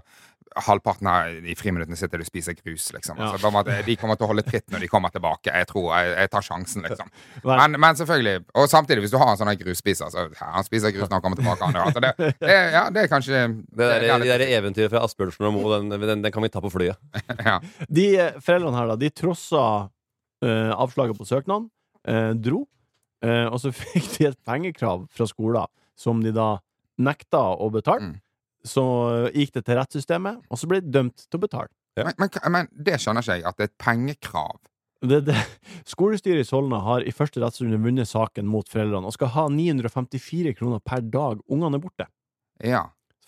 Speaker 4: Halvparten av i friminuttene sitter de og spiser grus, liksom.
Speaker 2: Ja.
Speaker 4: Altså, på en måte, de kommer til å holde tritt når de kommer tilbake. Jeg tror, jeg, jeg tar sjansen, liksom.
Speaker 2: Vel.
Speaker 4: Men, men selvfølgelig. Og samtidig, hvis du har en sånn her grusspiser, så ja, han spiser grus når han kommer tilbake. Han, ja. Så det, det, ja, det er kanskje
Speaker 5: Det der,
Speaker 4: det er
Speaker 5: det der eventyret fra Asbjørnsen og Moe, den, den, den kan vi ta på flyet.
Speaker 4: litt- ja.
Speaker 2: De eh, foreldrene her, da, de trossa eh, avslaget på søknaden, eh, dro, eh, og så fikk de et pengekrav fra skolen som de da nekta å betale.
Speaker 4: Mm.
Speaker 2: Så eh, gikk det til rettssystemet, og så ble de dømt til å betale.
Speaker 4: Men, men, men det skjønner ikke jeg, at det er et pengekrav.
Speaker 2: Det, det. Skolestyret i Solna har i første rettsrunde vunnet saken mot foreldrene og skal ha 954 kroner per dag ungene er borte.
Speaker 4: Ja.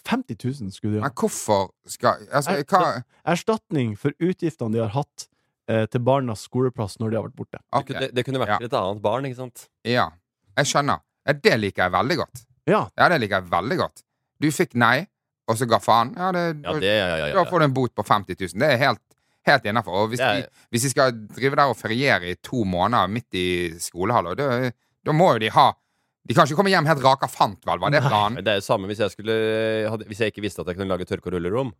Speaker 2: 50 000 skulle de ha.
Speaker 4: Men hvorfor skal Altså,
Speaker 2: Nei,
Speaker 4: hva
Speaker 2: Erstatning for utgiftene de har hatt eh, til barnas skoleplass når de har vært borte.
Speaker 5: Det,
Speaker 4: ok.
Speaker 5: kunne- det kunne vært
Speaker 4: Ja.
Speaker 5: til et annet barn, ikke sant?
Speaker 4: Ja, jeg skjønner. Ja, det liker jeg veldig godt.
Speaker 2: Ja.
Speaker 4: Ja, det liker jeg veldig godt. Du fikk nei, og så ga faen. Ja, det,
Speaker 5: Ja, det, ja, ja, ja,
Speaker 4: Da
Speaker 5: ja.
Speaker 4: får du en bot på 50 000. Det er helt, helt innafor. Og hvis,
Speaker 5: Ja, ja.
Speaker 4: de, hvis de skal drive der og feriere i to måneder midt i skolehalvåret, da- da må jo de ha De kan ikke komme hjem helt raka fant, vel? Var det planen?
Speaker 5: Det er jo samme hvis jeg, skulle, hadde, hvis jeg ikke visste at jeg kunne lage tørke- og rullerom.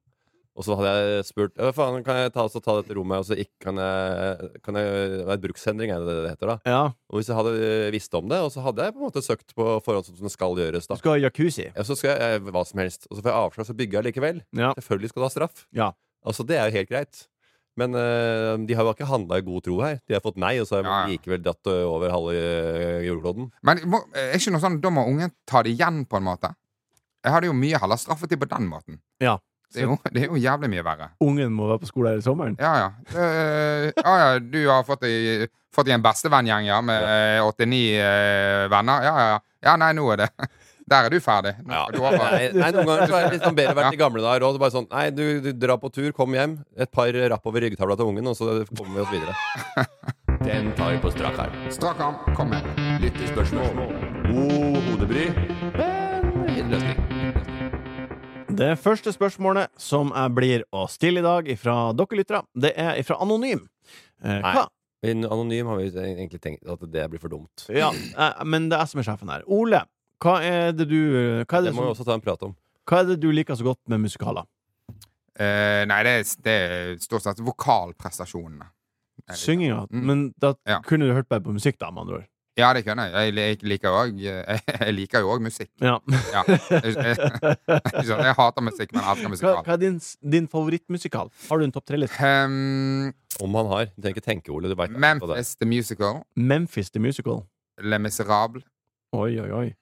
Speaker 5: Og så hadde jeg spurt «Ja, faen, kan jeg ta, så ta dette rommet, og så ikke, kan jeg, kan jeg Det er bruksendring, er det det heter da.
Speaker 2: Ja,
Speaker 5: Og hvis jeg hadde visst om det, og så hadde jeg på en måte søkt på forhånd sånn som det skal gjøres,
Speaker 2: du
Speaker 5: da.
Speaker 2: skal ha jacuzzi.
Speaker 5: Ja, så skal jeg eh, hva som helst. Og så får jeg avslag, så bygger jeg likevel.
Speaker 2: Ja.
Speaker 5: Selvfølgelig skal du ha straff.
Speaker 2: Ja.
Speaker 5: Altså, det er jo helt greit. Men eh, de har jo ikke handla i god tro her. De har fått nei, og så har de
Speaker 4: Ja, ja.
Speaker 5: likevel dratt eh, over halve eh, jordkloden.
Speaker 4: Men må, er ikke noe sånn, da må ungen ta det igjen, på en måte? Jeg hadde jo mye heller straffet dem på den måten.
Speaker 2: Ja.
Speaker 4: Det er jo, det er jo jævlig mye verre.
Speaker 2: Ungen må være på skolen hele sommeren.
Speaker 4: Ja, ja. Eh, ja, ja. Du har fått i, fått i en bestevenngjeng, ja, med eh, 89 eh, venner. Ja, ja, ja. Ja, nei, nå er det Der er du ferdig. Nå
Speaker 5: Ja.
Speaker 4: skal du over.
Speaker 5: Nei, nei, noen ganger så er det litt sånn bedre å være i gamle dager òg. Bare sånn Nei, du, du drar på tur, kom hjem. Et par rapp over ryggtavla til ungen, og så kommer vi oss videre. Den tar vi på strak arm.
Speaker 4: Strak arm. Kom med.
Speaker 5: Lyttespørsmål. God hodebry.
Speaker 2: Det første spørsmålet som jeg blir å stille i dag fra dere lyttere, det er fra Anonym. Eh,
Speaker 5: Nei.
Speaker 2: hva?
Speaker 5: Men Anonym har vi egentlig tenkt at det blir for dumt.
Speaker 2: Ja, eh, men det er jeg som er sjefen her. Ole, hva er det du eh, hva er
Speaker 5: Det sånn.
Speaker 2: det,
Speaker 5: må vi
Speaker 2: som,
Speaker 5: også ta en prat om.
Speaker 2: hva er det du liker så godt med musikaler?
Speaker 4: Eh, nei, det er, det er stort sett vokalprestasjonene. Er det-
Speaker 2: Synginga.
Speaker 4: Mm.
Speaker 2: Men da
Speaker 4: Ja.
Speaker 2: kunne du hørt bare på musikk, da, med andre ord.
Speaker 4: Ja, det kunne jeg. Jeg lik- liker jo òg Jeg liker jo òg musikk.
Speaker 2: Ja.
Speaker 4: Ja. Jeg, jeg, jeg, jeg hater musikk, men jeg elsker
Speaker 2: Hva,
Speaker 4: musikal.
Speaker 2: hva er din, s- din favorittmusikal? Har du en topp tre-liste?
Speaker 4: Um,
Speaker 5: Om han har. Du trenger ikke tenke, Ole. Du veit det.
Speaker 4: Memphis The Musical,
Speaker 2: Memphis the Musical.
Speaker 4: Le Miserable
Speaker 2: Oi, oi, oi.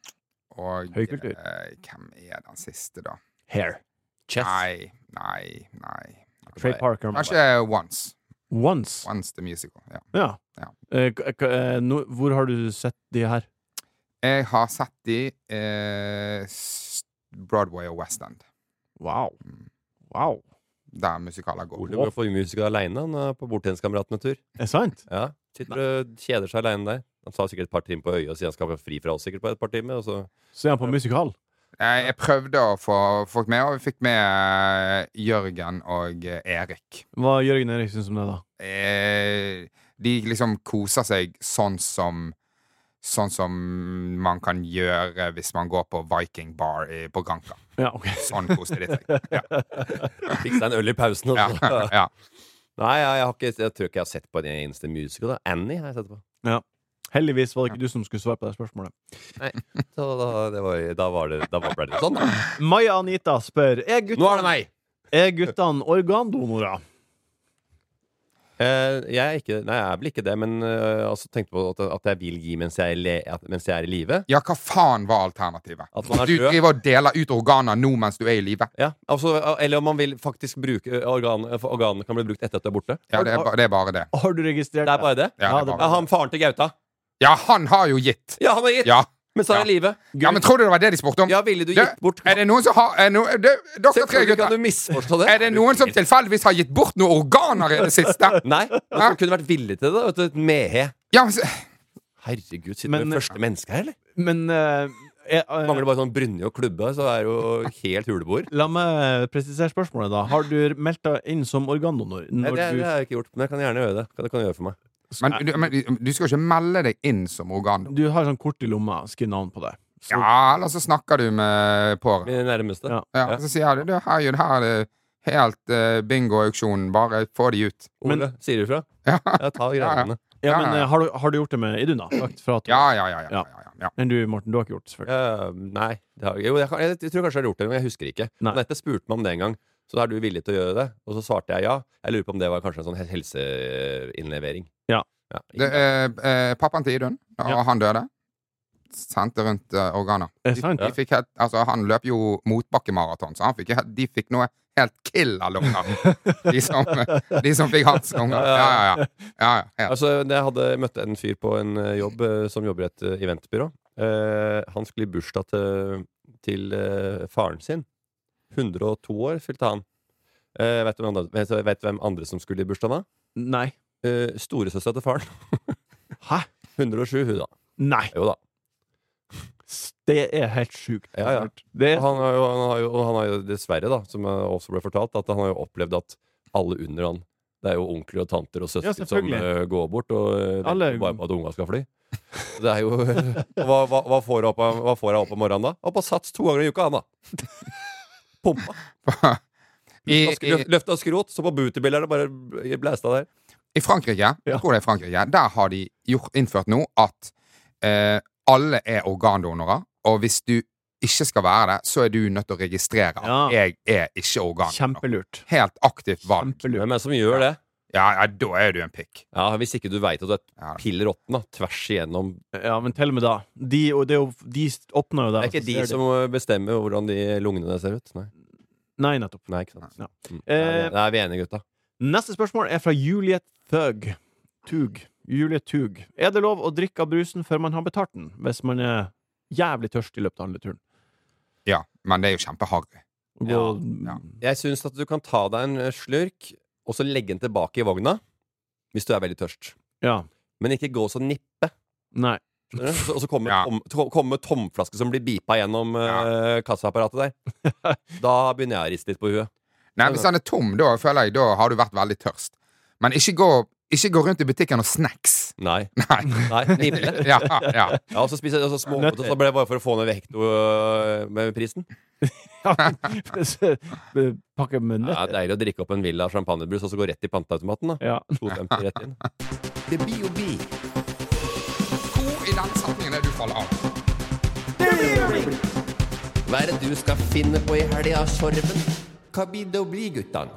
Speaker 4: og
Speaker 2: Høykultur.
Speaker 4: eh, Hvem er den siste, da?
Speaker 2: Hair.
Speaker 5: Chess.
Speaker 4: Nei, nei, nei.
Speaker 2: Trey Parker.
Speaker 4: Kanskje Once.
Speaker 2: Once.
Speaker 4: Once the Musical. Ja.
Speaker 2: Ja.
Speaker 4: Ja.
Speaker 2: Eh, k- k- eh, nå- hvor har du sett de her?
Speaker 4: Jeg har sett de eh, s- Broadway og West End,
Speaker 2: Wow.
Speaker 4: Mm.
Speaker 2: Wow.
Speaker 4: der musikaler går.
Speaker 5: Ole går for musiker aleine på bordtenniskameratene-tur.
Speaker 2: Er det sant?
Speaker 5: Ja. Sitter og kjeder seg aleine der. Han tar sikkert et par timer på øyet og sier han skal være fri fra oss sikkert på et par timer. Og så
Speaker 2: Så er han på musikal.
Speaker 4: Jeg, jeg prøvde å få folk med, og vi fikk med eh, Jørgen og eh, Erik.
Speaker 2: Hva gjør Jørgen Erik syns om det, da?
Speaker 4: Eh, de liksom koser seg sånn som Sånn som man kan gjøre hvis man går på Viking Bar i, på Granka.
Speaker 2: Ja, ok.
Speaker 4: Sånn koste de seg. Ja,
Speaker 5: fikk seg en øl i pausen.
Speaker 4: ja,
Speaker 5: Og så.
Speaker 4: ja.
Speaker 5: Nei, jeg, jeg, har ikke, jeg tror ikke jeg har sett på en eneste musical. Da. Annie har jeg sett på.
Speaker 2: Heldigvis var det ikke du som skulle svare på det spørsmålet.
Speaker 5: Så da, det var, da, var det, da var- ble det sånn. Da.
Speaker 2: Maja Anita spør Er
Speaker 5: Nå er det
Speaker 2: guttene,
Speaker 5: meg!
Speaker 2: er guttene organdonorer?
Speaker 5: Eh, jeg er ikke Nei, jeg er vel ikke det, men eh, altså, tenkte på at, at jeg vil gi mens jeg, le, at, mens jeg er i live.
Speaker 4: ja, hva faen var alternativet?
Speaker 5: At man er
Speaker 4: Du
Speaker 5: død.
Speaker 4: driver og deler ut organer nå mens du er i live.
Speaker 5: Ja, altså, eller om man vil faktisk bruke eh, organ, for Organene kan bli brukt etter at du er borte.
Speaker 4: Ja, det er, ba- det er bare det.
Speaker 2: Har du registrert
Speaker 5: Det er bare det?
Speaker 4: Ja,
Speaker 2: Ja, det-
Speaker 4: det er
Speaker 5: Ja,
Speaker 4: bare det.
Speaker 5: han faren til Gauta.
Speaker 4: Ja, han har jo gitt!
Speaker 5: Ja, han har gitt!
Speaker 4: Ja.
Speaker 5: Mens han er i live.
Speaker 4: ja, men tror du det var det de spurte om?
Speaker 5: Ja, ville du
Speaker 4: Du,
Speaker 5: gitt bort
Speaker 4: Er det noen som har er no, du, Dere tre
Speaker 5: Selvfølgelig kan
Speaker 4: gutter.
Speaker 5: du misforstå det.
Speaker 4: Er det noen som tilfeldigvis har gitt bort noen organer i det siste?
Speaker 5: Nei, men som kunne vært villig til det. Vet du, et mehe.
Speaker 4: Ja, men, så-
Speaker 5: Herregud, sitter
Speaker 2: Men- eh,
Speaker 5: du med første menneske her, eller?
Speaker 2: Men eh, er, eh,
Speaker 5: Mangler bare sånn brynje og klubbe, så er det jo helt huleboer.
Speaker 2: La meg presisere spørsmålet, da. Har du meldt deg inn som organdonor?
Speaker 5: Nei,
Speaker 2: Når
Speaker 5: det, det
Speaker 2: du...
Speaker 5: har jeg ikke gjort, men jeg kan gjerne gjøre det. Det kan du gjøre for meg.
Speaker 4: men, du, men du skal jo ikke melde deg inn som organ.
Speaker 2: du har sånn kort i lomma, skriv navn på det. Så,
Speaker 4: Ja, eller så snakker du med pårørende.
Speaker 5: Mine nærmeste.
Speaker 2: Ja.
Speaker 4: Ja, så sier du du, her, er jo- her er det helt eh, bingo-auksjon, bare få de ut.
Speaker 5: Ole,
Speaker 2: Men-
Speaker 5: sier du ifra?
Speaker 4: Ja,
Speaker 5: Ja, ta greiene.
Speaker 2: ja,
Speaker 4: ja,
Speaker 2: men
Speaker 4: ja.
Speaker 2: eh, har, du, har du gjort det med Iduna? Sagt fra til
Speaker 4: ja, ja. ja, ja, ja, ja, ja.
Speaker 2: Men du, Morten, du har ikke gjort det, selvfølgelig.
Speaker 5: Eh, nei. Det har, jo, jeg, kan, jeg, tror kanskje jeg har gjort det, men jeg husker ikke.
Speaker 2: Nei.
Speaker 5: Dette spurte meg om det en gang. Så er du villig til å gjøre det? Og så svarte jeg ja. Jeg lurer på om det var kanskje en sånn hel- helseinnlevering.
Speaker 2: Ja.
Speaker 4: Det, eh, eh, pappaen til Idun, da
Speaker 2: Ja.
Speaker 4: han døde, sendte rundt eh, organer.
Speaker 2: Er det sant?
Speaker 4: De fikk helt, altså, han løp jo motbakkemaraton, så han fikk, helt- de fikk noe helt killer-lunger. De, som- de som fikk hans lunger. Ja, ja, ja. ja, ja, helt.
Speaker 5: Altså, når jeg hadde møtt en fyr på en eh, jobb eh, som jobber i et eh, eventbyrå. Eh, han skulle i bursdag til, til eh, faren sin. 102 år fylte han. Eh, vet, du hvem andre, vet, du- vet du hvem andre som skulle i bursdag da?
Speaker 2: Nei.
Speaker 5: Eh, Storesøstera til faren.
Speaker 2: Hæ?
Speaker 5: 107, hun da.
Speaker 2: Nei.
Speaker 5: Jo da.
Speaker 2: Det er helt sjukt.
Speaker 5: Ja, ja.
Speaker 2: Det,
Speaker 5: Og han har jo, han har jo, og han har jo dessverre, da, som jeg også ble fortalt, at han har jo opplevd at alle under han Det er jo onkler og tanter og søsken som
Speaker 2: selvfølgelig.
Speaker 5: eh, går bort og eh, venter
Speaker 2: Alle-
Speaker 5: bare på at unga skal fly. Det er jo og hva, hva, hva får jeg opp av- hva får jeg opp om morgenen, da? Opp og sats to ganger i uka, han, da. Pumpa.
Speaker 4: I, i,
Speaker 5: Løfta skrot, så på bootybildet og bare blæsta der.
Speaker 4: I Frankrike,
Speaker 2: Ja.
Speaker 4: jeg tror det er Frankrike, der har de gjort, innført nå at eh, alle er organdonorer, og hvis du ikke skal være det, så er du nødt til å registrere at
Speaker 2: Ja.
Speaker 4: jeg er ikke organdonor.
Speaker 2: Kjempelurt.
Speaker 4: Helt aktivt valg.
Speaker 2: Kjempelurt.
Speaker 5: Hvem er det som gjør det?
Speaker 4: Ja, ja, da er du en pikk.
Speaker 5: Ja, Hvis ikke du veit at du
Speaker 4: Ja.
Speaker 5: er pill råtten, da. Tvers igjennom.
Speaker 2: Ja, men til og med da. De, og det er jo, de åpner jo
Speaker 5: Det
Speaker 2: der.
Speaker 5: er ikke
Speaker 2: og så
Speaker 5: de
Speaker 2: ser
Speaker 5: som eh, bestemmer hvordan de lungene ser ut. Nei.
Speaker 2: Nei, nettopp.
Speaker 5: Nei, ikke sant.
Speaker 2: Ja.
Speaker 5: Mm.
Speaker 2: Eh,
Speaker 5: Nei, nei, vi er enige, gutta.
Speaker 2: Neste spørsmål er fra Juliet Thug. Tug. Julie Tug. Er det lov å drikke av brusen før man har betalt den, hvis man er jævlig tørst i løpet av handleturen?
Speaker 4: Ja, men det er jo kjempeharry.
Speaker 2: Og
Speaker 5: Ja,
Speaker 2: gå-
Speaker 4: ja.
Speaker 5: Jeg syns at du kan ta deg en eh, slurk, og så legge den tilbake i vogna hvis du er veldig tørst.
Speaker 2: Ja.
Speaker 5: Men ikke gå og så nippe.
Speaker 2: Nei.
Speaker 5: skjønner du? Så- Og så komme
Speaker 4: Ja.
Speaker 5: tom, to- komme tomflaske som blir beepa gjennom eh, kassaapparatet der. Da begynner jeg å riste litt på huet.
Speaker 4: Nei, hvis han er tom, da føler jeg da har du vært veldig tørst. Men ikke gå, ikke gå rundt i butikken og snacks.
Speaker 5: Nei.
Speaker 4: Nei.
Speaker 5: Nei, Nibble.
Speaker 4: Ja, ja.
Speaker 5: Ja, og så spiser jeg og så små
Speaker 2: Nøtter.
Speaker 5: poteter, så ble det bare for å få ned vekto øh, med prisen.
Speaker 2: Ja, men- Pakke med nøtt.
Speaker 5: Ja, deilig å drikke opp en Villa champagnebrus og så gå rett i panteautomaten. da
Speaker 2: Ja.
Speaker 5: 2,50 rett inn.
Speaker 3: Det blir jo bi.
Speaker 4: Hvor i den setningen er du faller av?
Speaker 5: Hva er det du skal finne på i helga, Sorven? Hva blir det å bli, guttan?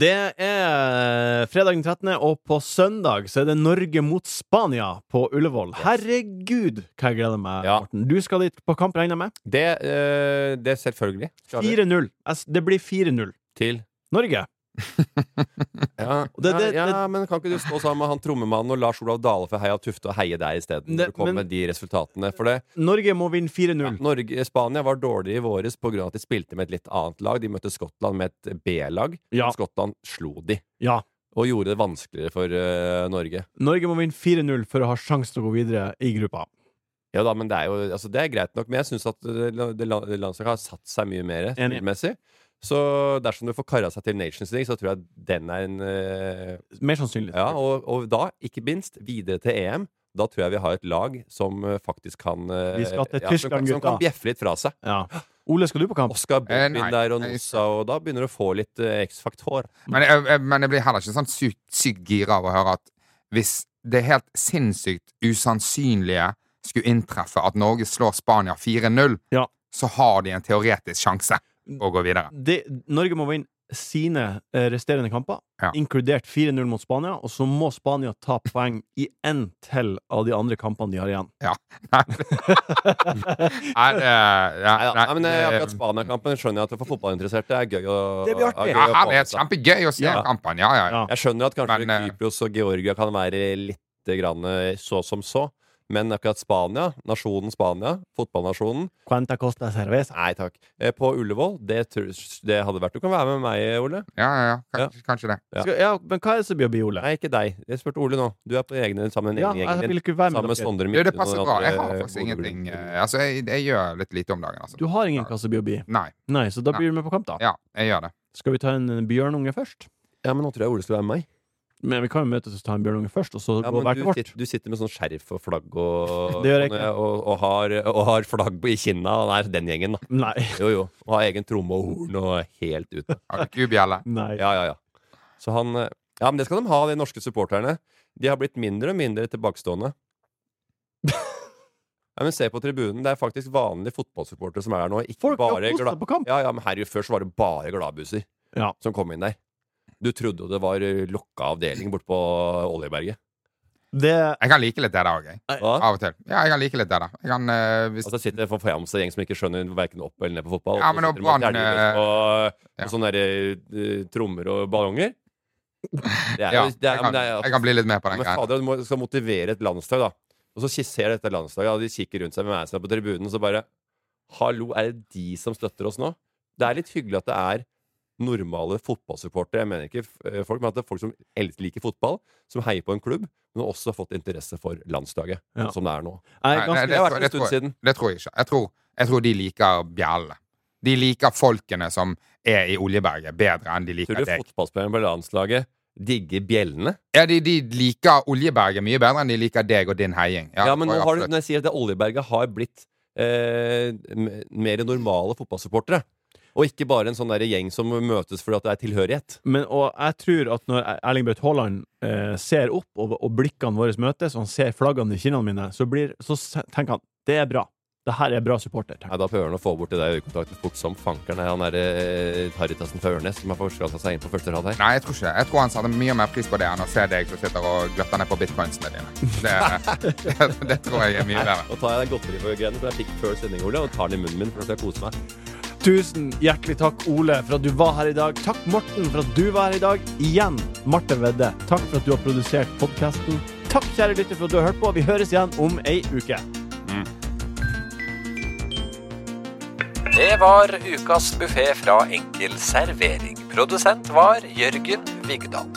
Speaker 2: Det er fredag den 13., og på søndag så er det Norge mot Spania på Ullevål. Herregud, hva jeg gleder meg,
Speaker 5: Ja.
Speaker 2: Morten. Du skal dit på kamp, regner jeg med.
Speaker 5: Det, øh, det er selvfølgelig. Skal vi-
Speaker 2: 4-0. Altså, Det blir 4-0.
Speaker 5: Til
Speaker 2: Norge.
Speaker 5: Ja,
Speaker 2: det- det-
Speaker 5: ja, ja, men kan ikke du stå sammen med han trommemannen og Lars Olav Dale fra Heia Tufte og heie der
Speaker 2: Det-
Speaker 5: isteden? Når du
Speaker 2: men-
Speaker 5: kommer med de resultatene. For det,
Speaker 2: Norge må vinne 4-0.
Speaker 5: Norge, Spania var dårlig i våres pga. at de spilte med et litt annet lag. De møtte Skottland med et B-lag.
Speaker 2: Ja.
Speaker 5: Skottland slo de.
Speaker 2: Ja.
Speaker 5: og gjorde det vanskeligere for eh, Norge.
Speaker 2: Norge må vinne 4-0 for å ha sjanse til å gå videre i gruppa.
Speaker 5: Ja da, men det er jo altså, det er greit nok. Men jeg syns at det, det la- det landslaget har satt seg mye mer
Speaker 2: Enig.
Speaker 5: spillmessig. Så dersom du får kara seg til Nations League, så tror jeg den er en eh,
Speaker 2: Mer sannsynlig.
Speaker 5: Ja, og, og da, ikke minst, videre til EM. Da tror jeg vi har et lag som eh, faktisk kan eh,
Speaker 2: Vi skal til
Speaker 5: ja, som,
Speaker 2: Tyskland,
Speaker 5: kan- som kan
Speaker 2: gutta.
Speaker 5: bjeffe litt fra seg.
Speaker 2: Ja. Ole, skal du på kamp?
Speaker 5: Oskar
Speaker 4: Eh,
Speaker 5: Bobbin
Speaker 4: nei.
Speaker 5: der og
Speaker 4: Nei,
Speaker 5: Nosa, og da begynner du å få litt eh, X-faktor.
Speaker 4: Men jeg, jeg, men jeg blir heller ikke sånn sykt, sykt gira av å høre at hvis det helt sinnssykt usannsynlige skulle inntreffe at Norge slår Spania 4-0,
Speaker 2: Ja.
Speaker 4: så har de en teoretisk sjanse å gå videre.
Speaker 2: Det, Norge må vinne sine eh, resterende kamper,
Speaker 4: Ja.
Speaker 2: inkludert 4-0 mot Spania, og så må Spania ta poeng i én til av de andre kampene de har igjen.
Speaker 4: Nei, Nei, eh, ja,
Speaker 5: Nei, da. nei, men eh,
Speaker 4: det-
Speaker 5: akkurat Spania-kampen skjønner jeg at for fotballinteresserte er gøy å
Speaker 2: Det blir artig.
Speaker 5: er
Speaker 4: ja,
Speaker 5: gøy å
Speaker 4: her
Speaker 5: få
Speaker 4: er
Speaker 5: med
Speaker 4: det
Speaker 5: seg.
Speaker 4: kjempegøy å se
Speaker 2: Ja.
Speaker 4: kampen. Ja, ja, ja.
Speaker 2: Ja.
Speaker 5: Jeg skjønner at kanskje
Speaker 4: Men, eh,
Speaker 5: Kypros og Georgia kan være litt grann eh, så som så, men akkurat Spania, nasjonen Spania, fotballnasjonen
Speaker 2: Quanta costa cerveza.
Speaker 5: Nei takk. Eh, På Ullevål, det, tror- det hadde vært Du kan være med meg, Ole.
Speaker 4: ja, ja, ja. Kanskje, kanskje det.
Speaker 5: Ja.
Speaker 2: Skal, ja, men hva er det som blir å bli, Ole?
Speaker 5: Nei, ikke deg. Jeg spurte Ole nå. Du er på egne sammen med
Speaker 2: Ja,
Speaker 5: egen
Speaker 2: jeg
Speaker 5: gjengen
Speaker 2: vil
Speaker 5: din.
Speaker 2: ikke være med
Speaker 5: Sammen med
Speaker 2: dere.
Speaker 5: Sondre
Speaker 4: Jo, det
Speaker 5: Midtun og
Speaker 4: passer
Speaker 5: de
Speaker 4: bra. Jeg
Speaker 5: andre,
Speaker 4: har
Speaker 5: eh,
Speaker 4: faktisk
Speaker 5: Bodø-gulvet.
Speaker 4: ingenting eh, Altså, jeg, jeg gjør litt lite om dagen, altså.
Speaker 2: Du har ingen hva som blir å bli.
Speaker 4: Nei.
Speaker 2: Nei, så da blir du med på kamp, da.
Speaker 4: Ja, jeg gjør det.
Speaker 2: Skal vi ta en eh, bjørnunge først?
Speaker 5: Ja, men nå tror jeg Ole skal være med meg.
Speaker 2: Men vi kan jo møtes og ta en bjørnunge først, og så
Speaker 5: Ja,
Speaker 2: gå
Speaker 5: men
Speaker 2: hver
Speaker 5: du,
Speaker 2: til vårt.
Speaker 5: sitter, du sitter med sånn skjerf og flagg og,
Speaker 2: Det gjør jeg ikke.
Speaker 5: og, og, har, og har flagg på- i kinna. Og er den gjengen, da.
Speaker 2: Nei.
Speaker 5: Jo, jo. Og har egen tromme og horn og er helt ute.
Speaker 4: Har du kubjelle?
Speaker 2: Nei.
Speaker 5: Ja, ja, ja. Så han eh, Ja, men det skal de ha, de norske supporterne. De har blitt mindre og mindre tilbakestående. Ja, men se på tribunen. Det er faktisk vanlige fotballsupportere som er her nå. Ikke
Speaker 2: Folk har
Speaker 5: bare
Speaker 2: kost
Speaker 5: glad...
Speaker 2: seg på kamp.
Speaker 5: Ja, ja, men herregud, før så var det bare gladbusser
Speaker 2: Ja.
Speaker 5: som kom inn der. Du trodde jo det var eh, lukka avdeling borte på eh, Oljeberget.
Speaker 2: Det
Speaker 4: Jeg kan like litt det der òg, jeg.
Speaker 5: Hva?
Speaker 4: Av og til. Ja, jeg kan like litt det der. Jeg kan, eh, hvis
Speaker 5: Altså sitter en forfjamsa gjeng som ikke skjønner hverken opp eller ned på fotball.
Speaker 4: Ja,
Speaker 5: og så
Speaker 4: men og
Speaker 5: sitter de og
Speaker 4: Brann,
Speaker 5: terninger og,
Speaker 4: ja.
Speaker 5: og eh, sånne der, eh, trommer og ballonger. Det er,
Speaker 4: ja,
Speaker 5: jo- det er,
Speaker 4: jeg,
Speaker 5: men
Speaker 4: kan,
Speaker 5: det er,
Speaker 4: jeg kan bli litt med på den
Speaker 5: Men
Speaker 4: greia.
Speaker 5: fader, du må, skal motivere et landslag, da. Og så skisserer dette landslaget, og de kikker rundt seg med meg som er på tribunen, og så bare Hallo, er det de som støtter oss nå? Det er litt hyggelig at det er normale fotballsupportere. Jeg mener ikke eh, folk, men at det er folk som el- liker fotball, som heier på en klubb, men også har fått interesse for landslaget,
Speaker 2: Ja.
Speaker 5: som det er nå.
Speaker 2: jeg
Speaker 4: Nei,
Speaker 2: er ganske
Speaker 5: Det har
Speaker 4: tror-
Speaker 5: vært en stund
Speaker 4: tror jeg,
Speaker 5: siden.
Speaker 4: det tror jeg ikke. Jeg tror, jeg tror de liker bjellene. De liker folkene som er i Oljeberget, bedre enn de
Speaker 5: Tror
Speaker 4: liker
Speaker 5: du
Speaker 4: deg.
Speaker 5: fotballspillerne på landslaget digger bjellene?
Speaker 4: Ja, de, de liker Oljeberget mye bedre enn de liker deg og din heiing.
Speaker 5: Ja,
Speaker 4: det
Speaker 5: men nå
Speaker 4: tror jeg
Speaker 5: har du,
Speaker 4: absolutt.
Speaker 5: når jeg sier at det Oljeberget har blitt eh, m- mer normale fotballsupportere, og ikke bare en sånn der gjeng som møtes fordi at det er tilhørighet
Speaker 2: Men, og jeg tror at når E- Erling Braut Haaland eh, ser opp, og, og blikkene våre møtes, og han ser flaggene i kinnene mine, så, blir, så se- tenker han det er bra. Det her er bra supporter. tenker
Speaker 5: Nei, da prøver han å få bort det der øyekontakten fort som fankeren er han der eh, Haritassen fra Ørnes som har forskansa seg inn på første rad her.
Speaker 4: Nei, jeg tror ikke det. Jeg tror han setter mye mer pris på det enn å se deg som sitter og gløtter ned på bitcoinsene dine. Det, det, det tror jeg er mye bedre.
Speaker 5: Nå tar jeg den godterigreiene som jeg fikk før sending, Ole, og tar den i munnen min for at jeg koser meg.
Speaker 2: jeg. Tusen hjertelig takk, Ole, for at du var her i dag. Takk, Morten, for at du var her i dag. Igjen, Marte Vedde, takk for at du har produsert podkasten. Takk, kjære lytter, for at du har hørt på. Vi høres igjen om ei uke.
Speaker 8: Det var ukas buffé fra Enkel servering. Produsent var Jørgen Vigdal.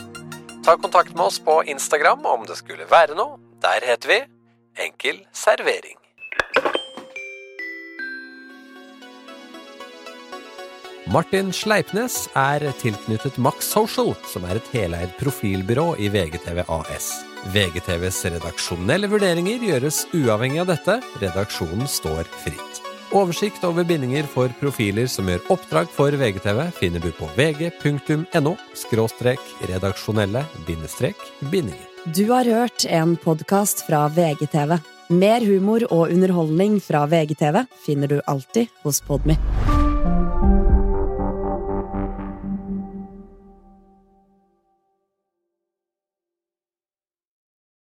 Speaker 8: Ta kontakt med oss på Instagram om det skulle være noe. Der heter vi Enkel servering. Martin Sleipnes er tilknyttet Max Social, som er et heleid profilbyrå i VGTV AS. VGTVs redaksjonelle vurderinger gjøres uavhengig av dette. Redaksjonen står fritt. Oversikt over bindinger for profiler som gjør oppdrag for VGTV, finner du på vg.no – redaksjonelle – bindinger.
Speaker 9: Du har hørt en podkast fra VGTV. Mer humor og underholdning fra VGTV finner du alltid hos Podmy.